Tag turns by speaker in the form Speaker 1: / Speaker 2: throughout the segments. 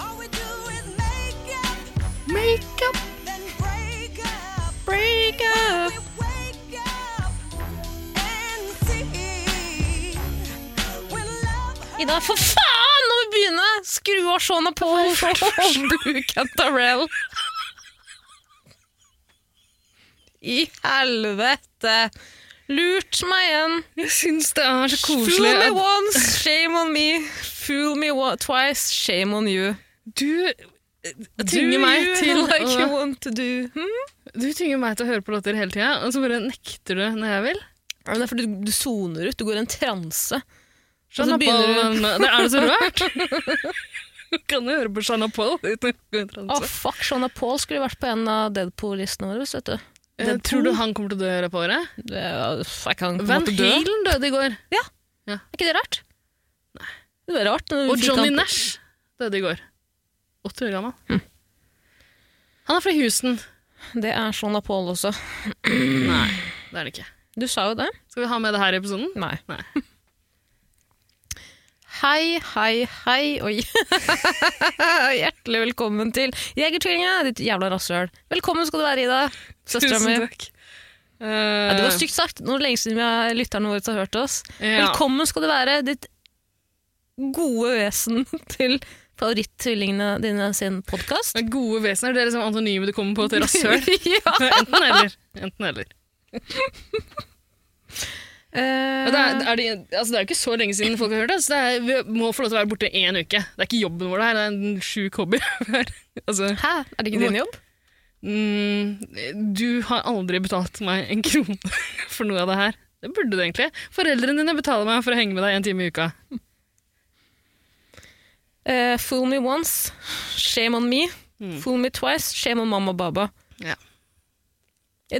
Speaker 1: All we do is make up,
Speaker 2: Makeup,
Speaker 1: then break up.
Speaker 2: breakup.
Speaker 1: We wake up and see when love
Speaker 2: Ida, for faen! Nå må vi begynne! Skru av Shona på og Bruk en Darrell. I helvete! Lurt meg igjen.
Speaker 3: Jeg syns det er så
Speaker 2: Fool
Speaker 3: koselig
Speaker 2: me
Speaker 3: at
Speaker 2: once, shame on me. Fool me wa- twice, shame on you.
Speaker 3: du
Speaker 2: Do
Speaker 3: tvinger meg
Speaker 2: you
Speaker 3: til
Speaker 2: like you
Speaker 3: å,
Speaker 2: want to do. Hmm?
Speaker 3: Du tvinger meg til å høre på låter hele tida, og så bare nekter du når jeg vil.
Speaker 2: Det er fordi du, du soner ut, du går i en transe. Og
Speaker 3: Shanna
Speaker 2: så
Speaker 3: Paul,
Speaker 2: begynner du...
Speaker 3: men- det er det så rart! Du kan jo høre på Shanna Paul uten å gå i en
Speaker 2: Å,
Speaker 3: transe.
Speaker 2: fuck, Shona Paul skulle vært på en av Deadpool-listene våre, vet du.
Speaker 3: Eh, Tror du han kommer til å dø i løpet av året?
Speaker 2: Det er- Jeg kan på en
Speaker 3: Van
Speaker 2: måte dø.
Speaker 3: Halen døde i går.
Speaker 2: Er ikke det rart? Det er rart. når du
Speaker 3: Og
Speaker 2: fikk
Speaker 3: Johnny
Speaker 2: han Mm. på-
Speaker 3: Nash døde i går. 80 år gammel. Han er fra Houston.
Speaker 2: Det er Shona Paul også.
Speaker 3: Nei, det er det ikke.
Speaker 2: Du sa jo det.
Speaker 3: Skal vi ha med det her i episoden?
Speaker 2: Nei.
Speaker 3: Nei.
Speaker 2: Hei, hei, hei, og hjertelig velkommen til Jegertvillingene, ditt jævla rasshøl. Velkommen skal du være, Ida. Søstera mi.
Speaker 3: Tusen takk. Eh,
Speaker 2: Ja, det var stygt sagt. Nå er det lenge siden vi har- lytterne våre har hørt oss.
Speaker 3: ja.
Speaker 2: Velkommen skal du være, ditt gode vesen til favoritttvillingene dine sin podkast.
Speaker 3: Det er Gode vesener. Det er liksom antonymet du kommer på til rasshøl.
Speaker 2: ja.
Speaker 3: Enten eller. Enten eller. Ja, Det, er,
Speaker 2: Eh,
Speaker 3: er det, altså det er jo ikke så lenge siden folk har hørt det, så det er, vi må få lov til å være borte én uke. Det er ikke jobben vår, det her. Det er en sjuk hobby. altså,
Speaker 2: Hæ? Er det ikke din jobb?
Speaker 3: mm, du har aldri betalt meg en krone for noe av det her. Det burde du egentlig. Foreldrene dine betaler meg for å henge med deg en time i uka.
Speaker 2: Eh, fool me once, shame on me. Fool me twice, shame on mamma og baba.
Speaker 3: Ja.
Speaker 2: Eh,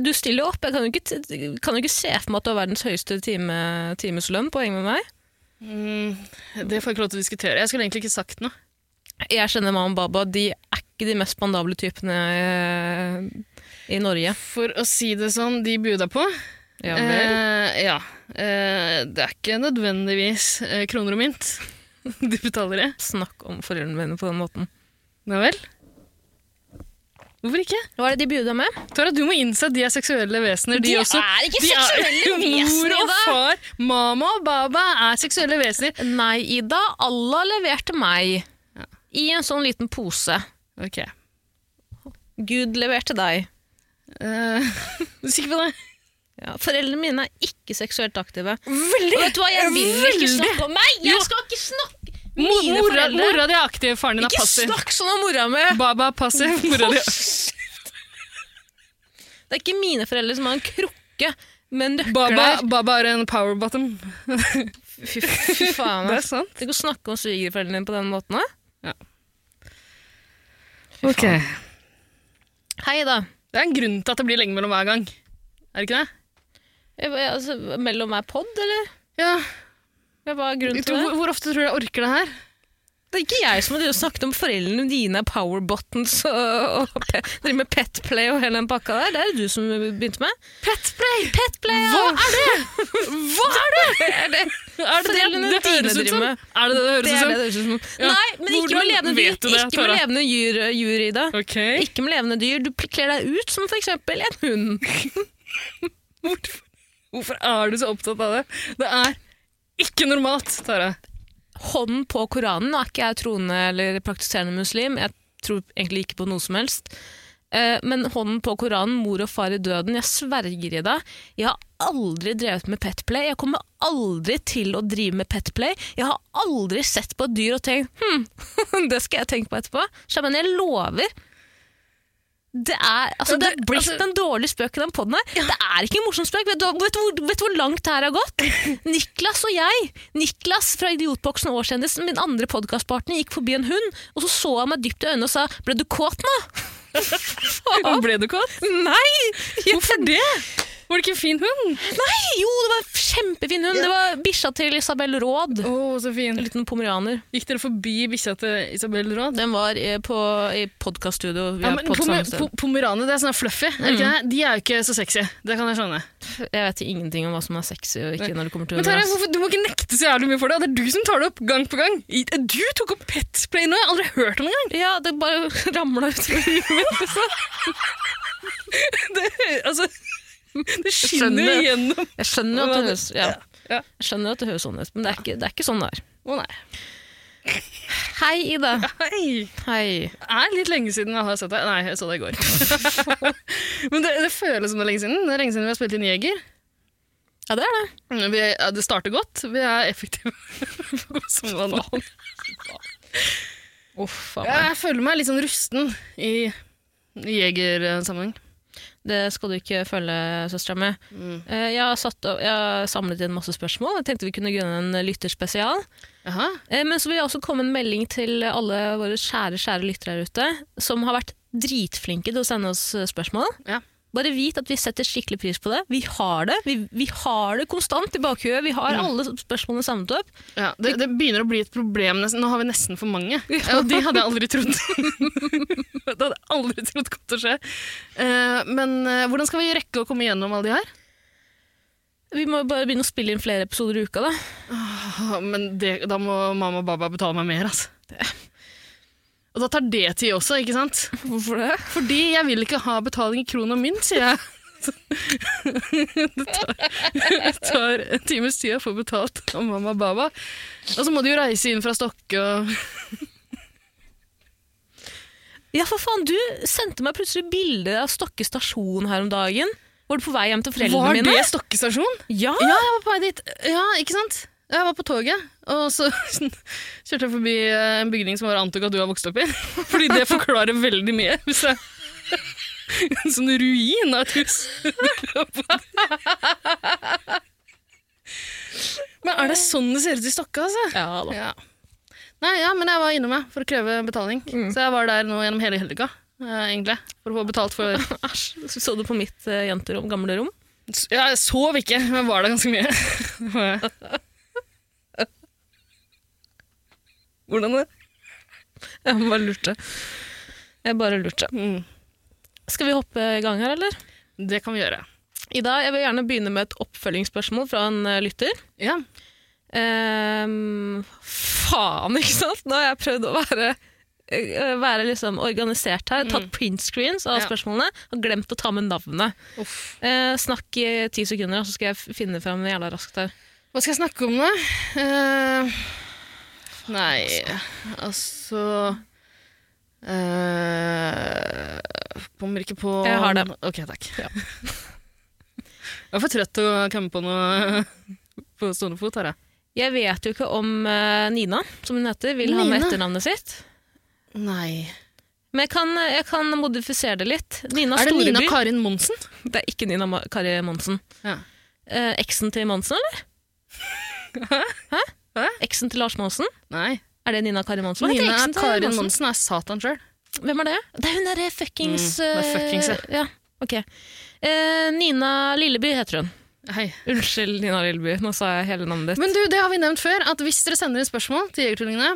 Speaker 2: Du stiller jo opp. Jeg kan jo ikke, t- kan jo ikke se for meg at du har verdens høyeste time, timeslønn på å henge med meg.
Speaker 3: Mm, det får jeg ikke lov til å diskutere. Jeg skulle egentlig ikke sagt noe.
Speaker 2: Jeg kjenner mamma og baba. De er ikke de mest bandable typene eh, i Norge.
Speaker 3: For å si det sånn, de buda på.
Speaker 2: Ja, vel.
Speaker 3: Eh, ja. Eh, det er ikke nødvendigvis eh, kroner og mynt de betaler det.
Speaker 2: Snakk om foreldrene mine på den måten.
Speaker 3: Nei vel? Hvorfor ikke?
Speaker 2: Hva er det de bjuder deg med?
Speaker 3: Tara, du må innse at de er seksuelle vesener. De, også.
Speaker 2: er ikke
Speaker 3: De er- Mor og far, mama og baba er seksuelle vesener.
Speaker 2: Nei, Ida. Allah leverte meg i en sånn liten pose.
Speaker 3: Ok.
Speaker 2: Gud leverte deg.
Speaker 3: Eh, du er sikker på det?
Speaker 2: Ja, foreldrene mine er ikke seksuelt aktive. Veldig! Og vet du hva, jeg vil ikke
Speaker 3: Veldig.
Speaker 2: snakke om meg! Jeg skal ikke snakke
Speaker 3: Mor,
Speaker 2: mine
Speaker 3: mora,
Speaker 2: foreldre.
Speaker 3: mora di er aktiv, faren din er
Speaker 2: Ikke
Speaker 3: passiv.
Speaker 2: snakk sånn om mora mi!
Speaker 3: Baba er passiv, mora di er
Speaker 2: Det er ikke mine foreldre som har en krukke med en nøkkel
Speaker 3: Baba,
Speaker 2: der.
Speaker 3: baba er en power bottom.
Speaker 2: Fy, fy faen.
Speaker 3: Det
Speaker 2: ass.
Speaker 3: er sant.
Speaker 2: Tenk å snakke om svigerforeldrene dine på den måten. da.
Speaker 3: Ok. Det
Speaker 2: Hei, da.
Speaker 3: er en grunn til at det blir lenge mellom hver gang. Er det ikke det?
Speaker 2: Jeg, jeg, altså, mellom meg pod, eller?
Speaker 3: Ja,
Speaker 2: Hva er grunnen
Speaker 3: Vet du,
Speaker 2: til det?
Speaker 3: hvor, hvor ofte tror du jeg orker det her?
Speaker 2: Det er ikke jeg som har drevet og snakket om foreldrene dine er power buttons og, og pe, driver med pet play og hele den pakka der. Det er det du som begynte med. Pet play! Pet play ja.
Speaker 3: Hva
Speaker 2: er det?! Hva er det?! Er det
Speaker 3: Er det det
Speaker 2: Foreldrene
Speaker 3: det
Speaker 2: dine
Speaker 3: høres ut som?
Speaker 2: driver med.
Speaker 3: Er det det det høres
Speaker 2: det er
Speaker 3: ut
Speaker 2: det
Speaker 3: som?
Speaker 2: det høres ut som.
Speaker 3: Ja,
Speaker 2: Nei, men ikke med
Speaker 3: hvordan
Speaker 2: levende dyr,
Speaker 3: vet du det,
Speaker 2: ikke med
Speaker 3: Tara?
Speaker 2: levende dyr, dyr Ida.
Speaker 3: Ok.
Speaker 2: Ikke med levende dyr. Du kler deg ut som for eksempel en hund.
Speaker 3: Hvorfor, hvorfor er du så opptatt av det? Det er ikke normalt, Tara.
Speaker 2: Hånden på Koranen. Nå er ikke jeg troende eller praktiserende muslim. Jeg tror egentlig ikke på noe som helst. Eh, Men hånden på Koranen, mor og far i døden, jeg sverger i deg. Jeg har aldri drevet med petplay. Jeg kommer aldri til å drive med petplay. Jeg har aldri sett på et dyr og tenkt hm, det skal jeg tenke på etterpå. Så jeg mener, jeg lover. Det er, altså,
Speaker 3: Ja,
Speaker 2: det
Speaker 3: det-
Speaker 2: er blitt
Speaker 3: altså-
Speaker 2: den dårlige spøken i den podden her. Det er ikke en morsom spøk. Vet du, vet, du hvor, vet du hvor langt det her har gått? Niklas og jeg, Niklas fra Idiotboksen og Årskjendisen, min andre podcastpartner, gikk forbi en hund, og så så han meg dypt i øynene og sa 'ble du kåt nå?'
Speaker 3: Og Ble du kåt?
Speaker 2: Nei! Jeg-
Speaker 3: Hvorfor det? Var det ikke en fin hund?
Speaker 2: Jo, det var en kjempefin hund. Det var bikkja til Isabel Råd.
Speaker 3: Å, så fin.
Speaker 2: En liten pomeraner.
Speaker 3: Gikk dere forbi bikkja til Isabel Råd?
Speaker 2: Den var eh, på, i podkaststudio. Vi
Speaker 3: Ja,
Speaker 2: er
Speaker 3: men
Speaker 2: på et
Speaker 3: pomer-
Speaker 2: samme sted. Mm.
Speaker 3: po- Pomeraner, det er sånn fluffy. Er det ikke det? De er jo ikke så sexy. Det kan jeg skjønne.
Speaker 2: Jeg vet ingenting om hva som er sexy og ikke når det kommer til
Speaker 3: Men Tarjei,
Speaker 2: hunderass.
Speaker 3: hvorfor- du må ikke nekte så jævlig mye for det. Det er du som tar det opp gang på gang. I- Du tok opp Petplay nå, jeg har aldri hørt om det engang.
Speaker 2: Ja, det bare ramla ut. liksom.
Speaker 3: Det, altså,
Speaker 2: skjønner.
Speaker 3: det skinner igjennom.
Speaker 2: Jeg skjønner jo at det høres ja.
Speaker 3: Ja.
Speaker 2: Jeg skjønner jo at det høres sånn ut, men det er ikke, det er ikke sånn det er.
Speaker 3: Å nei.
Speaker 2: Hei, Ida.
Speaker 3: Hei.
Speaker 2: Hei.
Speaker 3: Det er litt lenge siden jeg har sett deg. Nei, jeg så deg i går. Men det, det føles som det er lenge siden. Det er lenge siden vi har spilt inn Jeger. Mm,
Speaker 2: Ja, det er det.
Speaker 3: Vi, ja, det starter godt. Vi er effektive. som vanlig.
Speaker 2: Uff, faen meg.
Speaker 3: Jeg føler meg litt sånn rusten i i Jeger-sammenheng.
Speaker 2: Det skal du ikke følge, søstera mi. Eh, Jeg, har satt opp- jeg har samlet inn masse spørsmål. Jeg tenkte vi kunne gjøre en lytterspesial.
Speaker 3: Jaha.
Speaker 2: Eh, Men så vil jeg også komme en melding til alle våre kjære kjære lyttere her ute, som har vært dritflinke til å sende oss eh, spørsmål.
Speaker 3: Ja.
Speaker 2: Bare vit at vi setter skikkelig pris på det. Vi har det vi, vi har det konstant i bakhuet. Vi har
Speaker 3: Mm.
Speaker 2: alle spørsmålene samlet opp.
Speaker 3: Ja, det, det begynner å bli et problem. Nesten. Nå har vi nesten for mange. Og de hadde jeg aldri trodd. det hadde jeg aldri trodd kom til å skje. Eh, men eh, hvordan skal vi rekke å komme gjennom alle de her?
Speaker 2: Vi må jo bare begynne å spille inn flere episoder i uka, da.
Speaker 3: Ah, Men det, da må mamma og baba betale meg mer, altså. Og da tar det tid også, ikke sant?
Speaker 2: Hvorfor det?
Speaker 3: Fordi jeg vil ikke ha betaling i kron og mynt, sier jeg. Det tar, det tar en times tid å få betalt av mamma og baba. Og så må de jo reise inn fra Stokke og
Speaker 2: Ja, for faen, du sendte meg plutselig bilde av Stokke stasjon her om dagen. Var du på vei hjem til foreldrene
Speaker 3: Var
Speaker 2: mine?
Speaker 3: det Stokke stasjon?
Speaker 2: Ja!
Speaker 3: Ja, jeg var på vei dit. Ja, ikke sant? Jeg var på toget, og så kjørte jeg forbi eh, en bygning som bare antok at du har vokst opp i. Fordi det forklarer veldig mye. Hvis jeg en sånn ruin av et hus. Men er det sånn det ser ut i Stokka, altså?
Speaker 2: Ja, da.
Speaker 3: Ja. Nei, ja, men jeg var innom meg for å kreve betaling. Så jeg var der nå gjennom hele helga, eh, egentlig. For å få betalt for
Speaker 2: Æsj. Så du på mitt eh, jenterom, gamle rom?
Speaker 3: Ja, jeg sov ikke, men jeg var der ganske mye. Det var jeg.
Speaker 2: Hvordan det? Jeg bare lurte. Jeg bare lurte.
Speaker 3: Mm.
Speaker 2: Skal vi hoppe i gang her, eller?
Speaker 3: Det kan vi gjøre.
Speaker 2: Ida, jeg vil gjerne begynne med et oppfølgingsspørsmål fra en eh, lytter.
Speaker 3: Ja.
Speaker 2: Ehm, faen, ikke sant? Nå har jeg prøvd å være, eh, være liksom organisert her, tatt printscreens av
Speaker 3: Ja.
Speaker 2: spørsmålene og glemt å ta med navnet.
Speaker 3: Uff.
Speaker 2: Eh, snakk i ti sekunder, så skal jeg f- finne fram jævla raskt her.
Speaker 3: Hva skal jeg snakke om, da? Eh, nei, altså eh, Kommer ikke på
Speaker 2: Jeg har det.
Speaker 3: Ok, takk. jeg er for trøtt til å komme på noe på stående fot her, jeg.
Speaker 2: Jeg vet jo ikke om eh, Nina, som hun heter, vil ha med
Speaker 3: Nina?
Speaker 2: etternavnet sitt.
Speaker 3: Nei.
Speaker 2: Men jeg kan, jeg kan modifisere det litt. Nina
Speaker 3: Er det
Speaker 2: Storeby.
Speaker 3: Nina Karin Monsen?
Speaker 2: det er ikke Nina Ma Kari Monsen.
Speaker 3: Ja.
Speaker 2: Eh, eksen til Monsen, eller? Hæ?
Speaker 3: Hæ?
Speaker 2: Eksen til Lars Monsen?
Speaker 3: Nei.
Speaker 2: Er det Nina Kari Monsen? Hva heter
Speaker 3: Nina
Speaker 2: eksen til
Speaker 3: Karin Monsen er Satan sjøl.
Speaker 2: Hvem er det? Det er hun derre fuckings
Speaker 3: Mm, det er
Speaker 2: eh,
Speaker 3: fuckings, ja.
Speaker 2: ja. ok. Eh, Nina Lilleby heter hun.
Speaker 3: Hei.
Speaker 2: Unnskyld, Nina Lilleby. Nå sa jeg hele navnet ditt.
Speaker 3: Men du, det har vi nevnt før, at hvis dere sender inn spørsmål til Jegertvillingene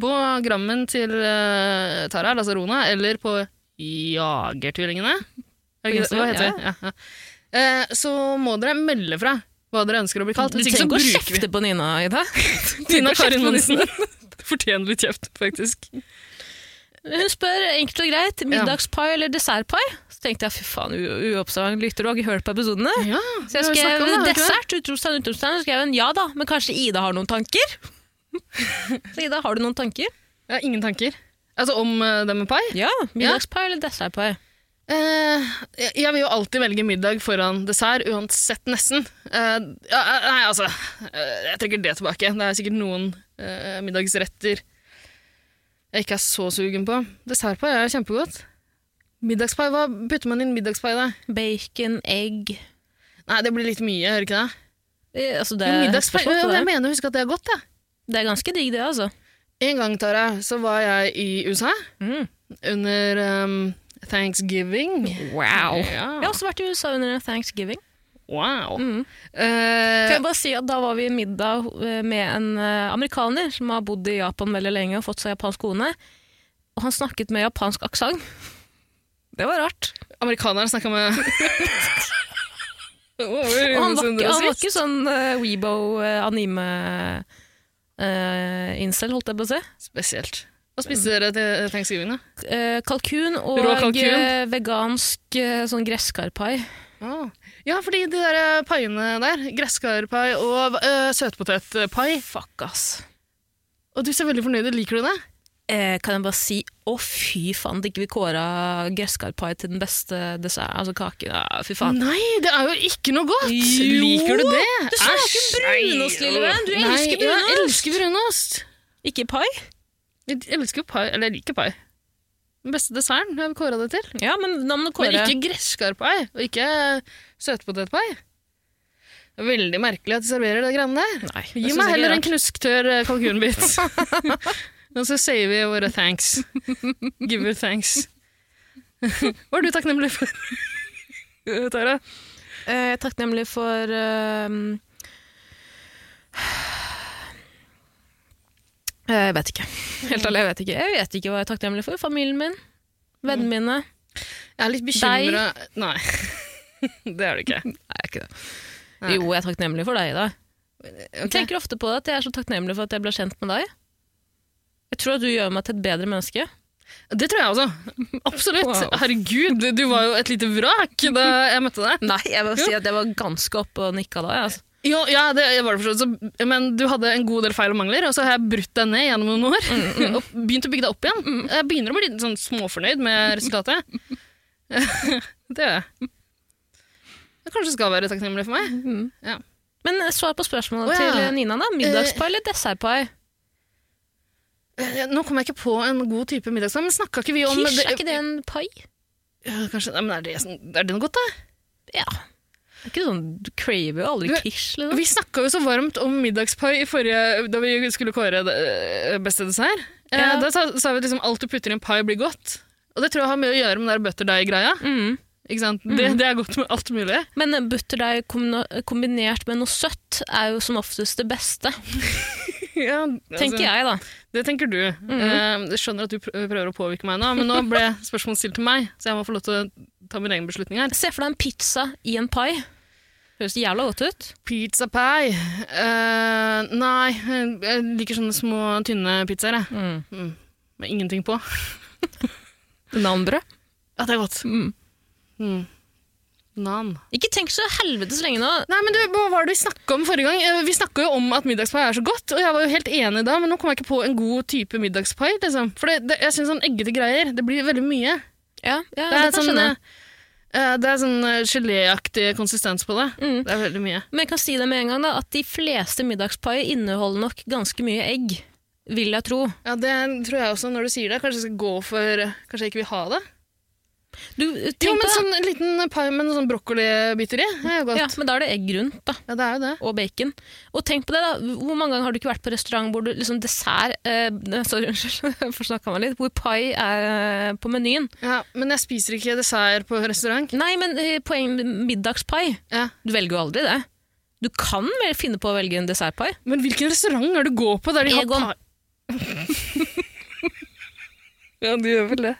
Speaker 3: på grammen til uh, Tara Lazarona eller på Jagertvillingene Er det ikke det- Hva heter det? Ja. ja. Eh, så må dere melde fra hva dere ønsker å bli kalt.
Speaker 2: du
Speaker 3: Hvis ikke så
Speaker 2: trenger ikke å
Speaker 3: bruker vi
Speaker 2: sånn, kjefte på Nina, Ida. Du trenger ikke
Speaker 3: Tina
Speaker 2: å kjefte
Speaker 3: Karin
Speaker 2: på
Speaker 3: Monsen. Fortjener litt kjeft, faktisk.
Speaker 2: Hun spør enkelt og greit middagspai eller dessertpai. Så tenkte jeg fy faen, u- uobservant lytter, du har ikke hørt på episodene.
Speaker 3: Ja,
Speaker 2: Så jeg
Speaker 3: vi har
Speaker 2: skrev
Speaker 3: snakket om det, har vi ikke det?
Speaker 2: dessert, utropstegn, utropstegn. Så skrev hun ja da, men kanskje Ida har noen tanker? så Ida, har du noen tanker?
Speaker 3: Jeg har ingen tanker. Altså om eh, det med pai?
Speaker 2: Ja. Middagspai eller dessertpai?
Speaker 3: Eh, jeg jeg vil jo alltid velge middag foran dessert, uansett nesten. Eh, ja, eh, nei, altså, eh, jeg trekker det tilbake. Det er sikkert noen eh, middagsretter jeg ikke er så sugen på. Dessertpai er kjempegodt. Middagspai, hva putter man inn middagspai da?
Speaker 2: Bacon, egg
Speaker 3: Nei, det blir litt mye, hører ikke det?
Speaker 2: Eh, altså det,
Speaker 3: Jo,
Speaker 2: er
Speaker 3: middagspai,
Speaker 2: spørsmål
Speaker 3: ja,
Speaker 2: til
Speaker 3: jeg
Speaker 2: deg.
Speaker 3: mener å huske at det er godt, jeg.
Speaker 2: det er ganske digg, det, altså.
Speaker 3: En gang, Tara, så var jeg i USA
Speaker 2: Mm.
Speaker 3: under um, Thanksgiving.
Speaker 2: Wow. Jeg har
Speaker 3: Ja.
Speaker 2: også vært i USA under thanksgiving.
Speaker 3: Eh. Wow.
Speaker 2: Mhm.
Speaker 3: Eh,
Speaker 2: Kan jeg bare si at Da var vi i middag eh, med en eh, amerikaner som har bodd i Japan veldig lenge og fått seg japansk kone. Og han snakket med japansk aksent. Det var rart.
Speaker 3: amerikaneren snakka med
Speaker 2: Og han var, ikke- han var ikke sånn eh, Weibo-anime-incel, holdt jeg på å si.
Speaker 3: Spesielt. Hva spiste dere til thanksgiving, da?
Speaker 2: Eh, kalkun og
Speaker 3: Rå kalkun?
Speaker 2: eh, vegansk eh, sånn gresskarpai.
Speaker 3: Ah. Ja, fordi de der eh, paiene der, gresskarpai og eh, søtpotetpai Fuck, ass. Og du ser veldig fornøyd ut. Liker du det?
Speaker 2: Eh, kan jeg bare si å fy faen, at ikke vi kåra gresskarpai til den beste dessert, altså kaken. Ja, fy faen.
Speaker 3: Nei, det er jo ikke noe godt!
Speaker 2: Jo,
Speaker 3: Liker du det?
Speaker 2: du smaker brunost, lille venn. Du elsker
Speaker 3: Nei,
Speaker 2: brunost.
Speaker 3: jeg elsker brunost.
Speaker 2: Ikke pai?
Speaker 3: Jeg elsker jo pai. Eller jeg liker pai. Den beste desserten har vi kåra det til.
Speaker 2: Ja, men da må du kåre
Speaker 3: Men ikke gresskarpai, og ikke søtpotetpai. Det er veldig merkelig at de serverer det greiene der.
Speaker 2: Nei, det
Speaker 3: Gi
Speaker 2: synes jeg
Speaker 3: meg
Speaker 2: ikke
Speaker 3: heller
Speaker 2: er
Speaker 3: en knusktørr eh, kalkunbit. Og så sier vi våre thanks. Give you thanks. Hva er du takknemlig for, Tara?
Speaker 2: rart. Eh, jeg er takknemlig for ehm, eh, Jeg vet ikke. Helt ærlig, jeg vet ikke. Jeg vet ikke hva jeg er takknemlig for. Familien min, vennene mine.
Speaker 3: Jeg er litt bekymra Nei. Det er du ikke.
Speaker 2: Nei, jeg er ikke det.
Speaker 3: Nei.
Speaker 2: Jo, jeg er takknemlig for deg, da. Jeg
Speaker 3: Ok.
Speaker 2: tenker ofte på at jeg er så takknemlig for at jeg ble kjent med deg. Jeg tror at du gjør meg til et bedre menneske.
Speaker 3: Det tror jeg også. Absolutt.
Speaker 2: Wow.
Speaker 3: Herregud, du var jo et lite vrak da jeg møtte deg.
Speaker 2: Nei, jeg vil
Speaker 3: si
Speaker 2: at jeg var ganske oppe og nikka da. altså.
Speaker 3: Jo, ja, det var det forstått. Så, men du hadde en god del feil og mangler, og så har jeg brutt deg ned gjennom noen år. Og begynt å bygge deg opp igjen. Jeg begynner å bli litt sånn småfornøyd med resultatet. det gjør jeg. Det kanskje skal være takknemlig for meg. Ja.
Speaker 2: Men eh, svar på spørsmålet
Speaker 3: Å, ja.
Speaker 2: til Nina, da. Middagspai eller dessertpai?
Speaker 3: Eh, Nå kom jeg ikke på en god type middagsdag, men snakka ikke vi om
Speaker 2: Kirsj, er ikke det en pai?
Speaker 3: Ja, Kanskje, nei, men er, det, sånn- er det noe godt, da?
Speaker 2: Ja. Det er ikke sånn, Du craver jo aldri
Speaker 3: Du-
Speaker 2: kirsj,
Speaker 3: Og
Speaker 2: liksom.
Speaker 3: Vi snakka jo så varmt om middagspai i forrige, da vi skulle kåre eh, beste dessert. Eh,
Speaker 2: Ja.
Speaker 3: Da sa, sa vi at liksom, alt du putter i en pai, blir godt. Og det tror jeg har mye å gjøre med den der butterdeig-greia.
Speaker 2: Mm.
Speaker 3: Ikke sant? Det, det er godt med alt mulig.
Speaker 2: Men eh, butterdeig kombina- kombinert med noe søtt er jo som oftest det beste,
Speaker 3: Ja, altså,
Speaker 2: tenker jeg, da.
Speaker 3: Det tenker du. Eh, jeg skjønner at du pr- prøver å påvirke meg nå, men nå ble spørsmålet stilt til meg, så jeg må få lov til å ta min egen beslutning her.
Speaker 2: Se for deg en pizza i en pai. Høres jævla godt ut.
Speaker 3: Pizza pie. Eh, nei, jeg liker sånne små, tynne pizzaer, jeg.
Speaker 2: Mm.
Speaker 3: Mm. Med ingenting på.
Speaker 2: Nanbrød.
Speaker 3: Ja, det er godt.
Speaker 2: Mm.
Speaker 3: Mm. Nan.
Speaker 2: Ikke tenk så helvetes lenge nå.
Speaker 3: Nei, men du, Hva var det vi snakka om forrige gang? Eh, Vi snakka jo om at middagspai er så godt, og jeg var jo helt enig da, men nå kom jeg ikke på en god type middagspai. liksom. For det, det, jeg synes sånn eggete greier, det blir veldig mye.
Speaker 2: Ja, ja
Speaker 3: Det er,
Speaker 2: kan jeg
Speaker 3: sånn,
Speaker 2: skjønne.
Speaker 3: eh, det er sånn eh, geléaktig konsistens på det.
Speaker 2: Mm.
Speaker 3: Det er veldig mye.
Speaker 2: Men jeg kan si det med en gang da, at de fleste middagspai inneholder nok ganske mye egg, vil jeg tro.
Speaker 3: Ja, Det tror jeg også, når du sier det. Kanskje jeg skal gå for Kanskje jeg ikke vil ha det?
Speaker 2: Du, eh,
Speaker 3: Jo,
Speaker 2: tenk på
Speaker 3: men
Speaker 2: det.
Speaker 3: sånn en liten pai med noe sånn brokkolibiter i er jo godt.
Speaker 2: Ja,
Speaker 3: Ja.
Speaker 2: men da er det egg rundt, da.
Speaker 3: det er jo det.
Speaker 2: Og bacon. Og tenk på det, da. Hvor mange ganger har du ikke vært på restaurant hvor du liksom dessert eh, ne, Sorry, unnskyld, jeg forsnakka meg litt. Hvor pai er eh, på menyen.
Speaker 3: Ja, Men jeg spiser ikke dessert på restaurant.
Speaker 2: Nei, men eh, poeng middagspai.
Speaker 3: Ja.
Speaker 2: Du velger jo aldri det. Du kan vel finne på å velge en dessertpai.
Speaker 3: Men hvilken restaurant er det du går på der de
Speaker 2: Egon.
Speaker 3: har par... ja, du gjør vel det.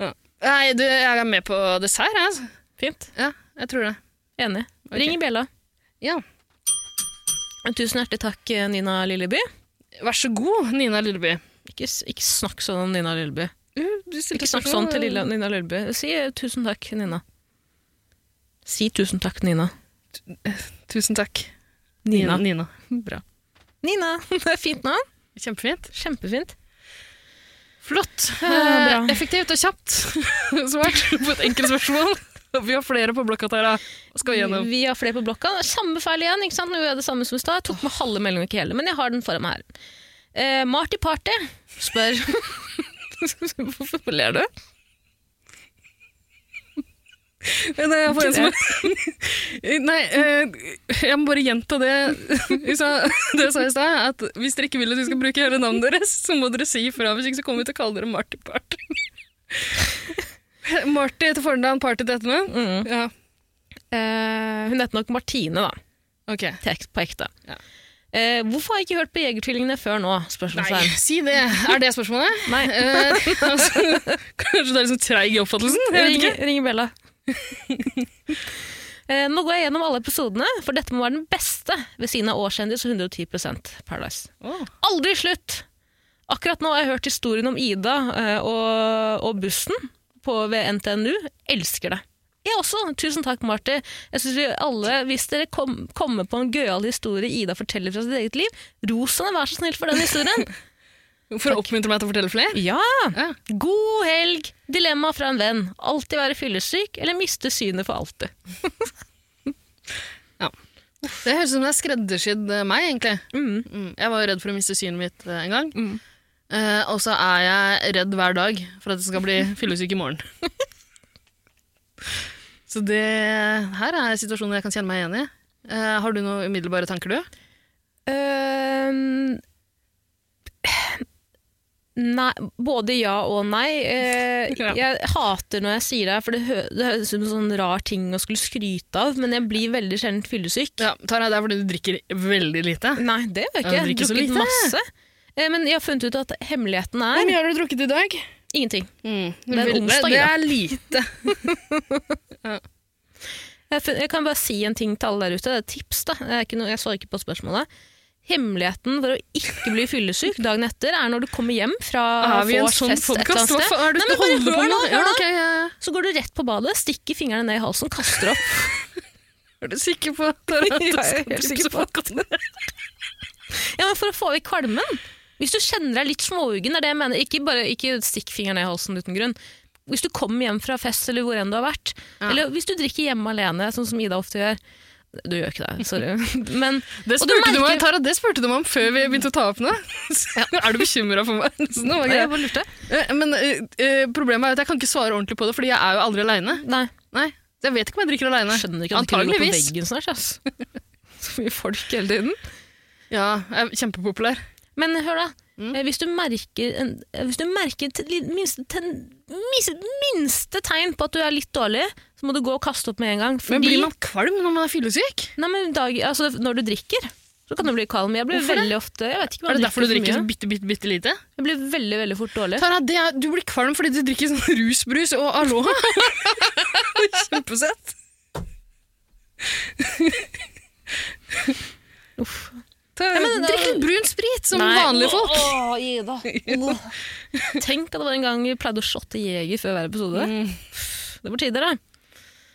Speaker 3: Ja. Nei, du, jeg er med på dessert, jeg, altså.
Speaker 2: Fint.
Speaker 3: Ja, jeg tror det.
Speaker 2: Enig.
Speaker 3: Ok.
Speaker 2: Ring i bjella.
Speaker 3: Ja.
Speaker 2: Tusen hjertelig takk, eh, Nina Lilleby.
Speaker 3: Vær så god, Nina Lilleby.
Speaker 2: Ikke, s- ikke snakk sånn om Nina Lilleby. Ikke snakk sånn
Speaker 3: Uh, spørsmål.
Speaker 2: til Lilla, Nina Lølby. Si eh, tusen takk, Nina. Si tusen takk, Nina.
Speaker 3: Tusen takk.
Speaker 2: Nina.
Speaker 3: Nina.
Speaker 2: Bra. Nina! Det er fint navn.
Speaker 3: Kjempefint.
Speaker 2: Kjempefint.
Speaker 3: Flott.
Speaker 2: Ja, bra.
Speaker 3: Eh, effektivt og kjapt svart på et enkelt spørsmål. Vi har flere på blokka, Tara. Skal vi gjennom?
Speaker 2: Vi har flere på blokka. Samme feil igjen. ikke sant? Nå gjør jeg det samme som i stad. Jeg tok med halve meldingen, ikke hele, men jeg har den foran meg her. Eh, Marty Party spør Hvorfor ler du?
Speaker 3: Nei, jeg, får en som... Nei eh, jeg må bare gjenta det jeg sa, det jeg sa i stad. At hvis dere ikke vil at vi skal bruke hele navnet deres, så må dere si ifra. Hvis ikke så kommer vi til å kalle dere Marty Party. Marty til fornavn, party til etternavn? Ja.
Speaker 2: Mm. Eh, hun heter nok Martine, da.
Speaker 3: Ok.
Speaker 2: Til ek- På ekte.
Speaker 3: Ja.
Speaker 2: Eh, hvorfor har jeg ikke hørt på Jegertvillingene før nå?
Speaker 3: Nei,
Speaker 2: Spørsmålstegn.
Speaker 3: si det! Er det spørsmålet?
Speaker 2: Nei.
Speaker 3: Eh, altså, kanskje du er liksom treig i oppfattelsen? Jeg vet
Speaker 2: Ring,
Speaker 3: ikke.
Speaker 2: ring Bella. Eh, nå går jeg gjennom alle episodene, for dette må være den beste ved siden av Årskjendis og 110 Paradise.
Speaker 3: Åh.
Speaker 2: Aldri slutt! Akkurat nå har jeg hørt historien om Ida eh, og, og bussen på, ved NTNU. Elsker det. Jeg også. Tusen takk, Marty. Jeg synes vi alle, Hvis dere kom, kommer på en gøyal historie Ida forteller fra sitt eget liv, ros henne, vær så snill, for den historien.
Speaker 3: For å oppmuntre meg til å fortelle flere?
Speaker 2: ja!
Speaker 3: Ja.
Speaker 2: God helg! Dilemma fra en venn. Alltid være fyllesyk eller miste synet for alltid.
Speaker 3: Det høres ut som det er skreddersydd eh, meg, egentlig.
Speaker 2: Mm.
Speaker 3: Mm. Jeg var jo redd for å miste synet mitt eh, en gang.
Speaker 2: Mm.
Speaker 3: Eh, og så er jeg redd hver dag for at jeg skal bli fyllesyk i morgen. så det her er situasjoner jeg kan kjenne meg igjen i. Eh, har du noen umiddelbare tanker, du?
Speaker 2: Øhm, Nei, både ja og nei. Eh,
Speaker 3: Ja.
Speaker 2: Jeg hater når jeg sier det, for det, hø det høres ut som en sånn rar ting å skulle skryte av, men jeg blir veldig sjelden fyllesyk.
Speaker 3: Ja, Tara, det er fordi du drikker veldig lite.
Speaker 2: Nei, det gjør jeg ikke.
Speaker 3: Ja,
Speaker 2: Jeg
Speaker 3: du drikker
Speaker 2: har
Speaker 3: så
Speaker 2: drukket
Speaker 3: lite.
Speaker 2: masse. Eh, men jeg har funnet ut at hemmeligheten
Speaker 3: Hvor
Speaker 2: er
Speaker 3: mye har du drukket i dag?
Speaker 2: ingenting.
Speaker 3: Mm.
Speaker 2: Det er
Speaker 3: Vel-
Speaker 2: onsdag,
Speaker 3: Det
Speaker 2: da.
Speaker 3: er lite.
Speaker 2: Jeg, fun- jeg kan bare si en ting til alle der ute. Det er et tips, da. Jeg, er ikke noe, jeg svarer ikke på spørsmålet. Hemmeligheten for å ikke bli fyllesyk dagen etter er når du kommer hjem fra
Speaker 3: Har vi en
Speaker 2: vors
Speaker 3: sånn
Speaker 2: fest et eller
Speaker 3: podcast?
Speaker 2: annet
Speaker 3: Hva
Speaker 2: sted.
Speaker 3: faen er det
Speaker 2: Nei,
Speaker 3: du
Speaker 2: men bare
Speaker 3: holder på
Speaker 2: hør
Speaker 3: med?
Speaker 2: nå, hør
Speaker 3: Ja,
Speaker 2: nå.
Speaker 3: ok, jeg-
Speaker 2: Så går du rett på badet, stikker fingrene ned i halsen, kaster opp.
Speaker 3: Er du sikker på Tara, at du
Speaker 2: Jeg er
Speaker 3: skal
Speaker 2: helt
Speaker 3: tipse
Speaker 2: sikker på
Speaker 3: folk om det?
Speaker 2: Ja, men For å få vekk kvalmen. Hvis du kjenner deg litt småugen, det er det jeg mener. Ikke bare ikke stikk fingeren ned i halsen uten grunn. Hvis du kommer hjem fra fest eller hvor enn du har vært,
Speaker 3: Ja.
Speaker 2: eller hvis du drikker hjemme alene, sånn som Ida ofte gjør Du gjør ikke det, sorry. Men
Speaker 3: Det
Speaker 2: Og du
Speaker 3: spurte, du meg,
Speaker 2: merker-
Speaker 3: Tara, det spurte du meg om før vi begynte å ta opp nå. er du bekymra for meg? Så nå var
Speaker 2: Nei, jeg
Speaker 3: jeg-
Speaker 2: bare lurte.
Speaker 3: Eh, Men eh, eh, problemet er at jeg kan ikke svare ordentlig på det, fordi jeg er jo aldri aleine.
Speaker 2: Nei,
Speaker 3: Nei, jeg vet ikke om jeg drikker aleine.
Speaker 2: skjønner ikke at du ikke går på
Speaker 3: Antageligvis.
Speaker 2: veggen snart. ass. Så mye folk hele tiden.
Speaker 3: Ja, jeg er kjempepopulær.
Speaker 2: Men hør da,
Speaker 3: Mm.
Speaker 2: eh, hvis du merker, en- eh, hvis du merker til, li- minste, ten- mis- minste tegn på at du er litt dårlig, så må du gå og kaste opp med en gang.
Speaker 3: Men
Speaker 2: fordi-
Speaker 3: blir man kvalm når man er fyllesyk?
Speaker 2: Nei, men dag, altså, når du drikker, så kan du bli kvalm. Jeg blir
Speaker 3: Hvorfor det?
Speaker 2: veldig ofte jeg vet ikke, om
Speaker 3: Er
Speaker 2: jeg
Speaker 3: det derfor du
Speaker 2: for
Speaker 3: drikker så
Speaker 2: mye.
Speaker 3: bitte, bitte, bitte lite?
Speaker 2: Jeg blir veldig, veldig fort dårlig.
Speaker 3: Tara, det er, du blir kvalm fordi du drikker sånn rusbrus og aloha. Kjempesett.
Speaker 2: Uff.
Speaker 3: Tara,
Speaker 2: men da-
Speaker 3: drikk litt brun sprit som
Speaker 2: Nei.
Speaker 3: vanlige folk.
Speaker 2: Åh, Ida. Åh. Tenk at det var en gang vi pleide å shotte jeger før hver episode.
Speaker 3: Mm.
Speaker 2: Det var tider, da.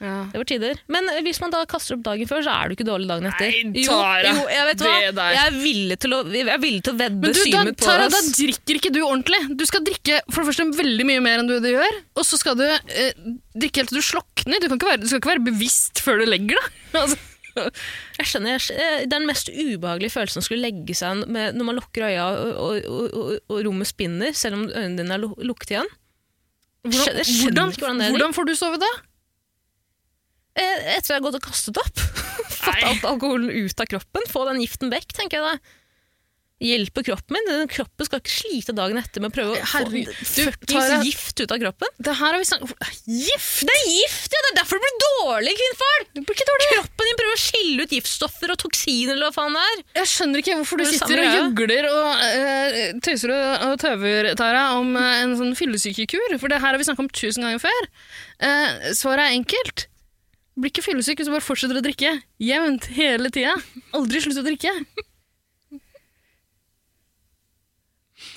Speaker 3: Ja.
Speaker 2: Det var tider. Men hvis man da kaster opp dagen før, så er du ikke dårlig dagen etter.
Speaker 3: Nei, Tara,
Speaker 2: jo, jo, jeg vet hva.
Speaker 3: det der.
Speaker 2: Jeg er villig til å, jeg er villig til å vedde
Speaker 3: Men du, da,
Speaker 2: synet mitt på
Speaker 3: Tara,
Speaker 2: det.
Speaker 3: da
Speaker 2: ass.
Speaker 3: drikker ikke du ordentlig. Du skal drikke for det første veldig mye mer enn du det gjør, og så skal du eh, drikke helt til du slokner. Du, kan ikke være, du skal ikke være bevisst før du legger deg. Altså,
Speaker 2: Jeg skjønner, jeg, skj- eh, Den mest ubehagelige følelsen å skulle legge seg n- med, når man lukker øya og, og, og, og, og rommet spinner, selv om øynene dine er lu- lukket igjen. Skjønner- jeg skjønner
Speaker 3: hvordan,
Speaker 2: ikke hvordan det er.
Speaker 3: hvordan får du sove da?
Speaker 2: Eh, Etter at jeg har gått og kastet opp. Fått
Speaker 3: Nei.
Speaker 2: alt alkoholen ut av kroppen. Få den giften vekk, tenker jeg da. Hjelper kroppen min. Den Kroppen skal ikke slite dagen etter med å prøve å få
Speaker 3: Herregud, Eh, du, Tara-
Speaker 2: fuckings gift ut av kroppen.
Speaker 3: Det her har vi snakket Gift!
Speaker 2: Det er gift, ja! Det er derfor det blir dårlig, kvinnfolk! Kroppen din prøver å skille ut giftstoffer og toksiner eller hva faen det er.
Speaker 3: Jeg skjønner ikke hvorfor
Speaker 2: Det
Speaker 3: du
Speaker 2: er det
Speaker 3: sitter og
Speaker 2: samme
Speaker 3: gjøgler og eh, tøyser og, og tøver, Tara, om eh, en sånn fyllesykekur. For det her har vi snakket om tusen ganger før. Eh, svaret er enkelt. Blir ikke fyllesyk hvis du bare fortsetter å drikke. Jevnt hele tida. Aldri slutt å drikke.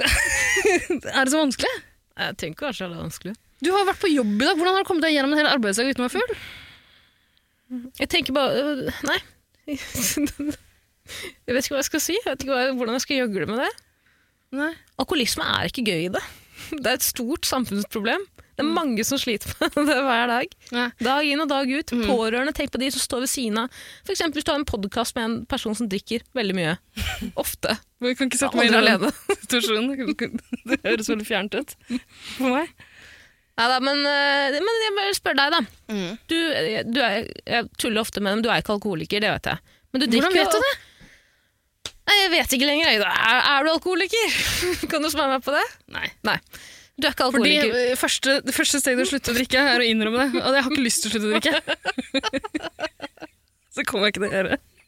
Speaker 3: er det så vanskelig?
Speaker 2: Jeg tenker kanskje det er vanskelig.
Speaker 3: Du har jo vært på jobb i dag. Hvordan har du kommet deg gjennom en hel arbeidsdag uten å være full?
Speaker 2: Jeg tenker bare øh, Nei. Jeg vet ikke hva jeg skal si. Jeg vet ikke hva, hvordan jeg skal gjøgle med det.
Speaker 3: Nei.
Speaker 2: Alkoholisme er ikke gøy i det. Det er et stort samfunnsproblem. Det er mange som sliter med det hver dag.
Speaker 3: Nei.
Speaker 2: Dag inn og dag ut. Pårørende, tenk på de som står ved siden av. For eksempel hvis du har en podkast med en person som drikker veldig mye. Ofte.
Speaker 3: Jeg kan ikke sette meg
Speaker 2: Aldri
Speaker 3: inn i
Speaker 2: alene.
Speaker 3: den situasjonen. Det høres veldig fjernt ut for meg.
Speaker 2: Neida, men, øh, men jeg vil spørre deg, da.
Speaker 3: Mm.
Speaker 2: du, eh, du er, jeg tuller ofte med dem, du er ikke alkoholiker, det vet jeg. Men du
Speaker 3: Hvordan vet du
Speaker 2: det? Nei, jeg vet ikke lenger. Øyda. Er, er du alkoholiker? kan du svare meg på det?
Speaker 3: Nei.
Speaker 2: Nei. Du er ikke
Speaker 3: Fordi
Speaker 2: alkoholiker.
Speaker 3: eh, første, det første steget å slutte å drikke er å innrømme det. Og jeg har ikke lyst til å slutte å drikke. Så kommer jeg ikke til å gjøre det.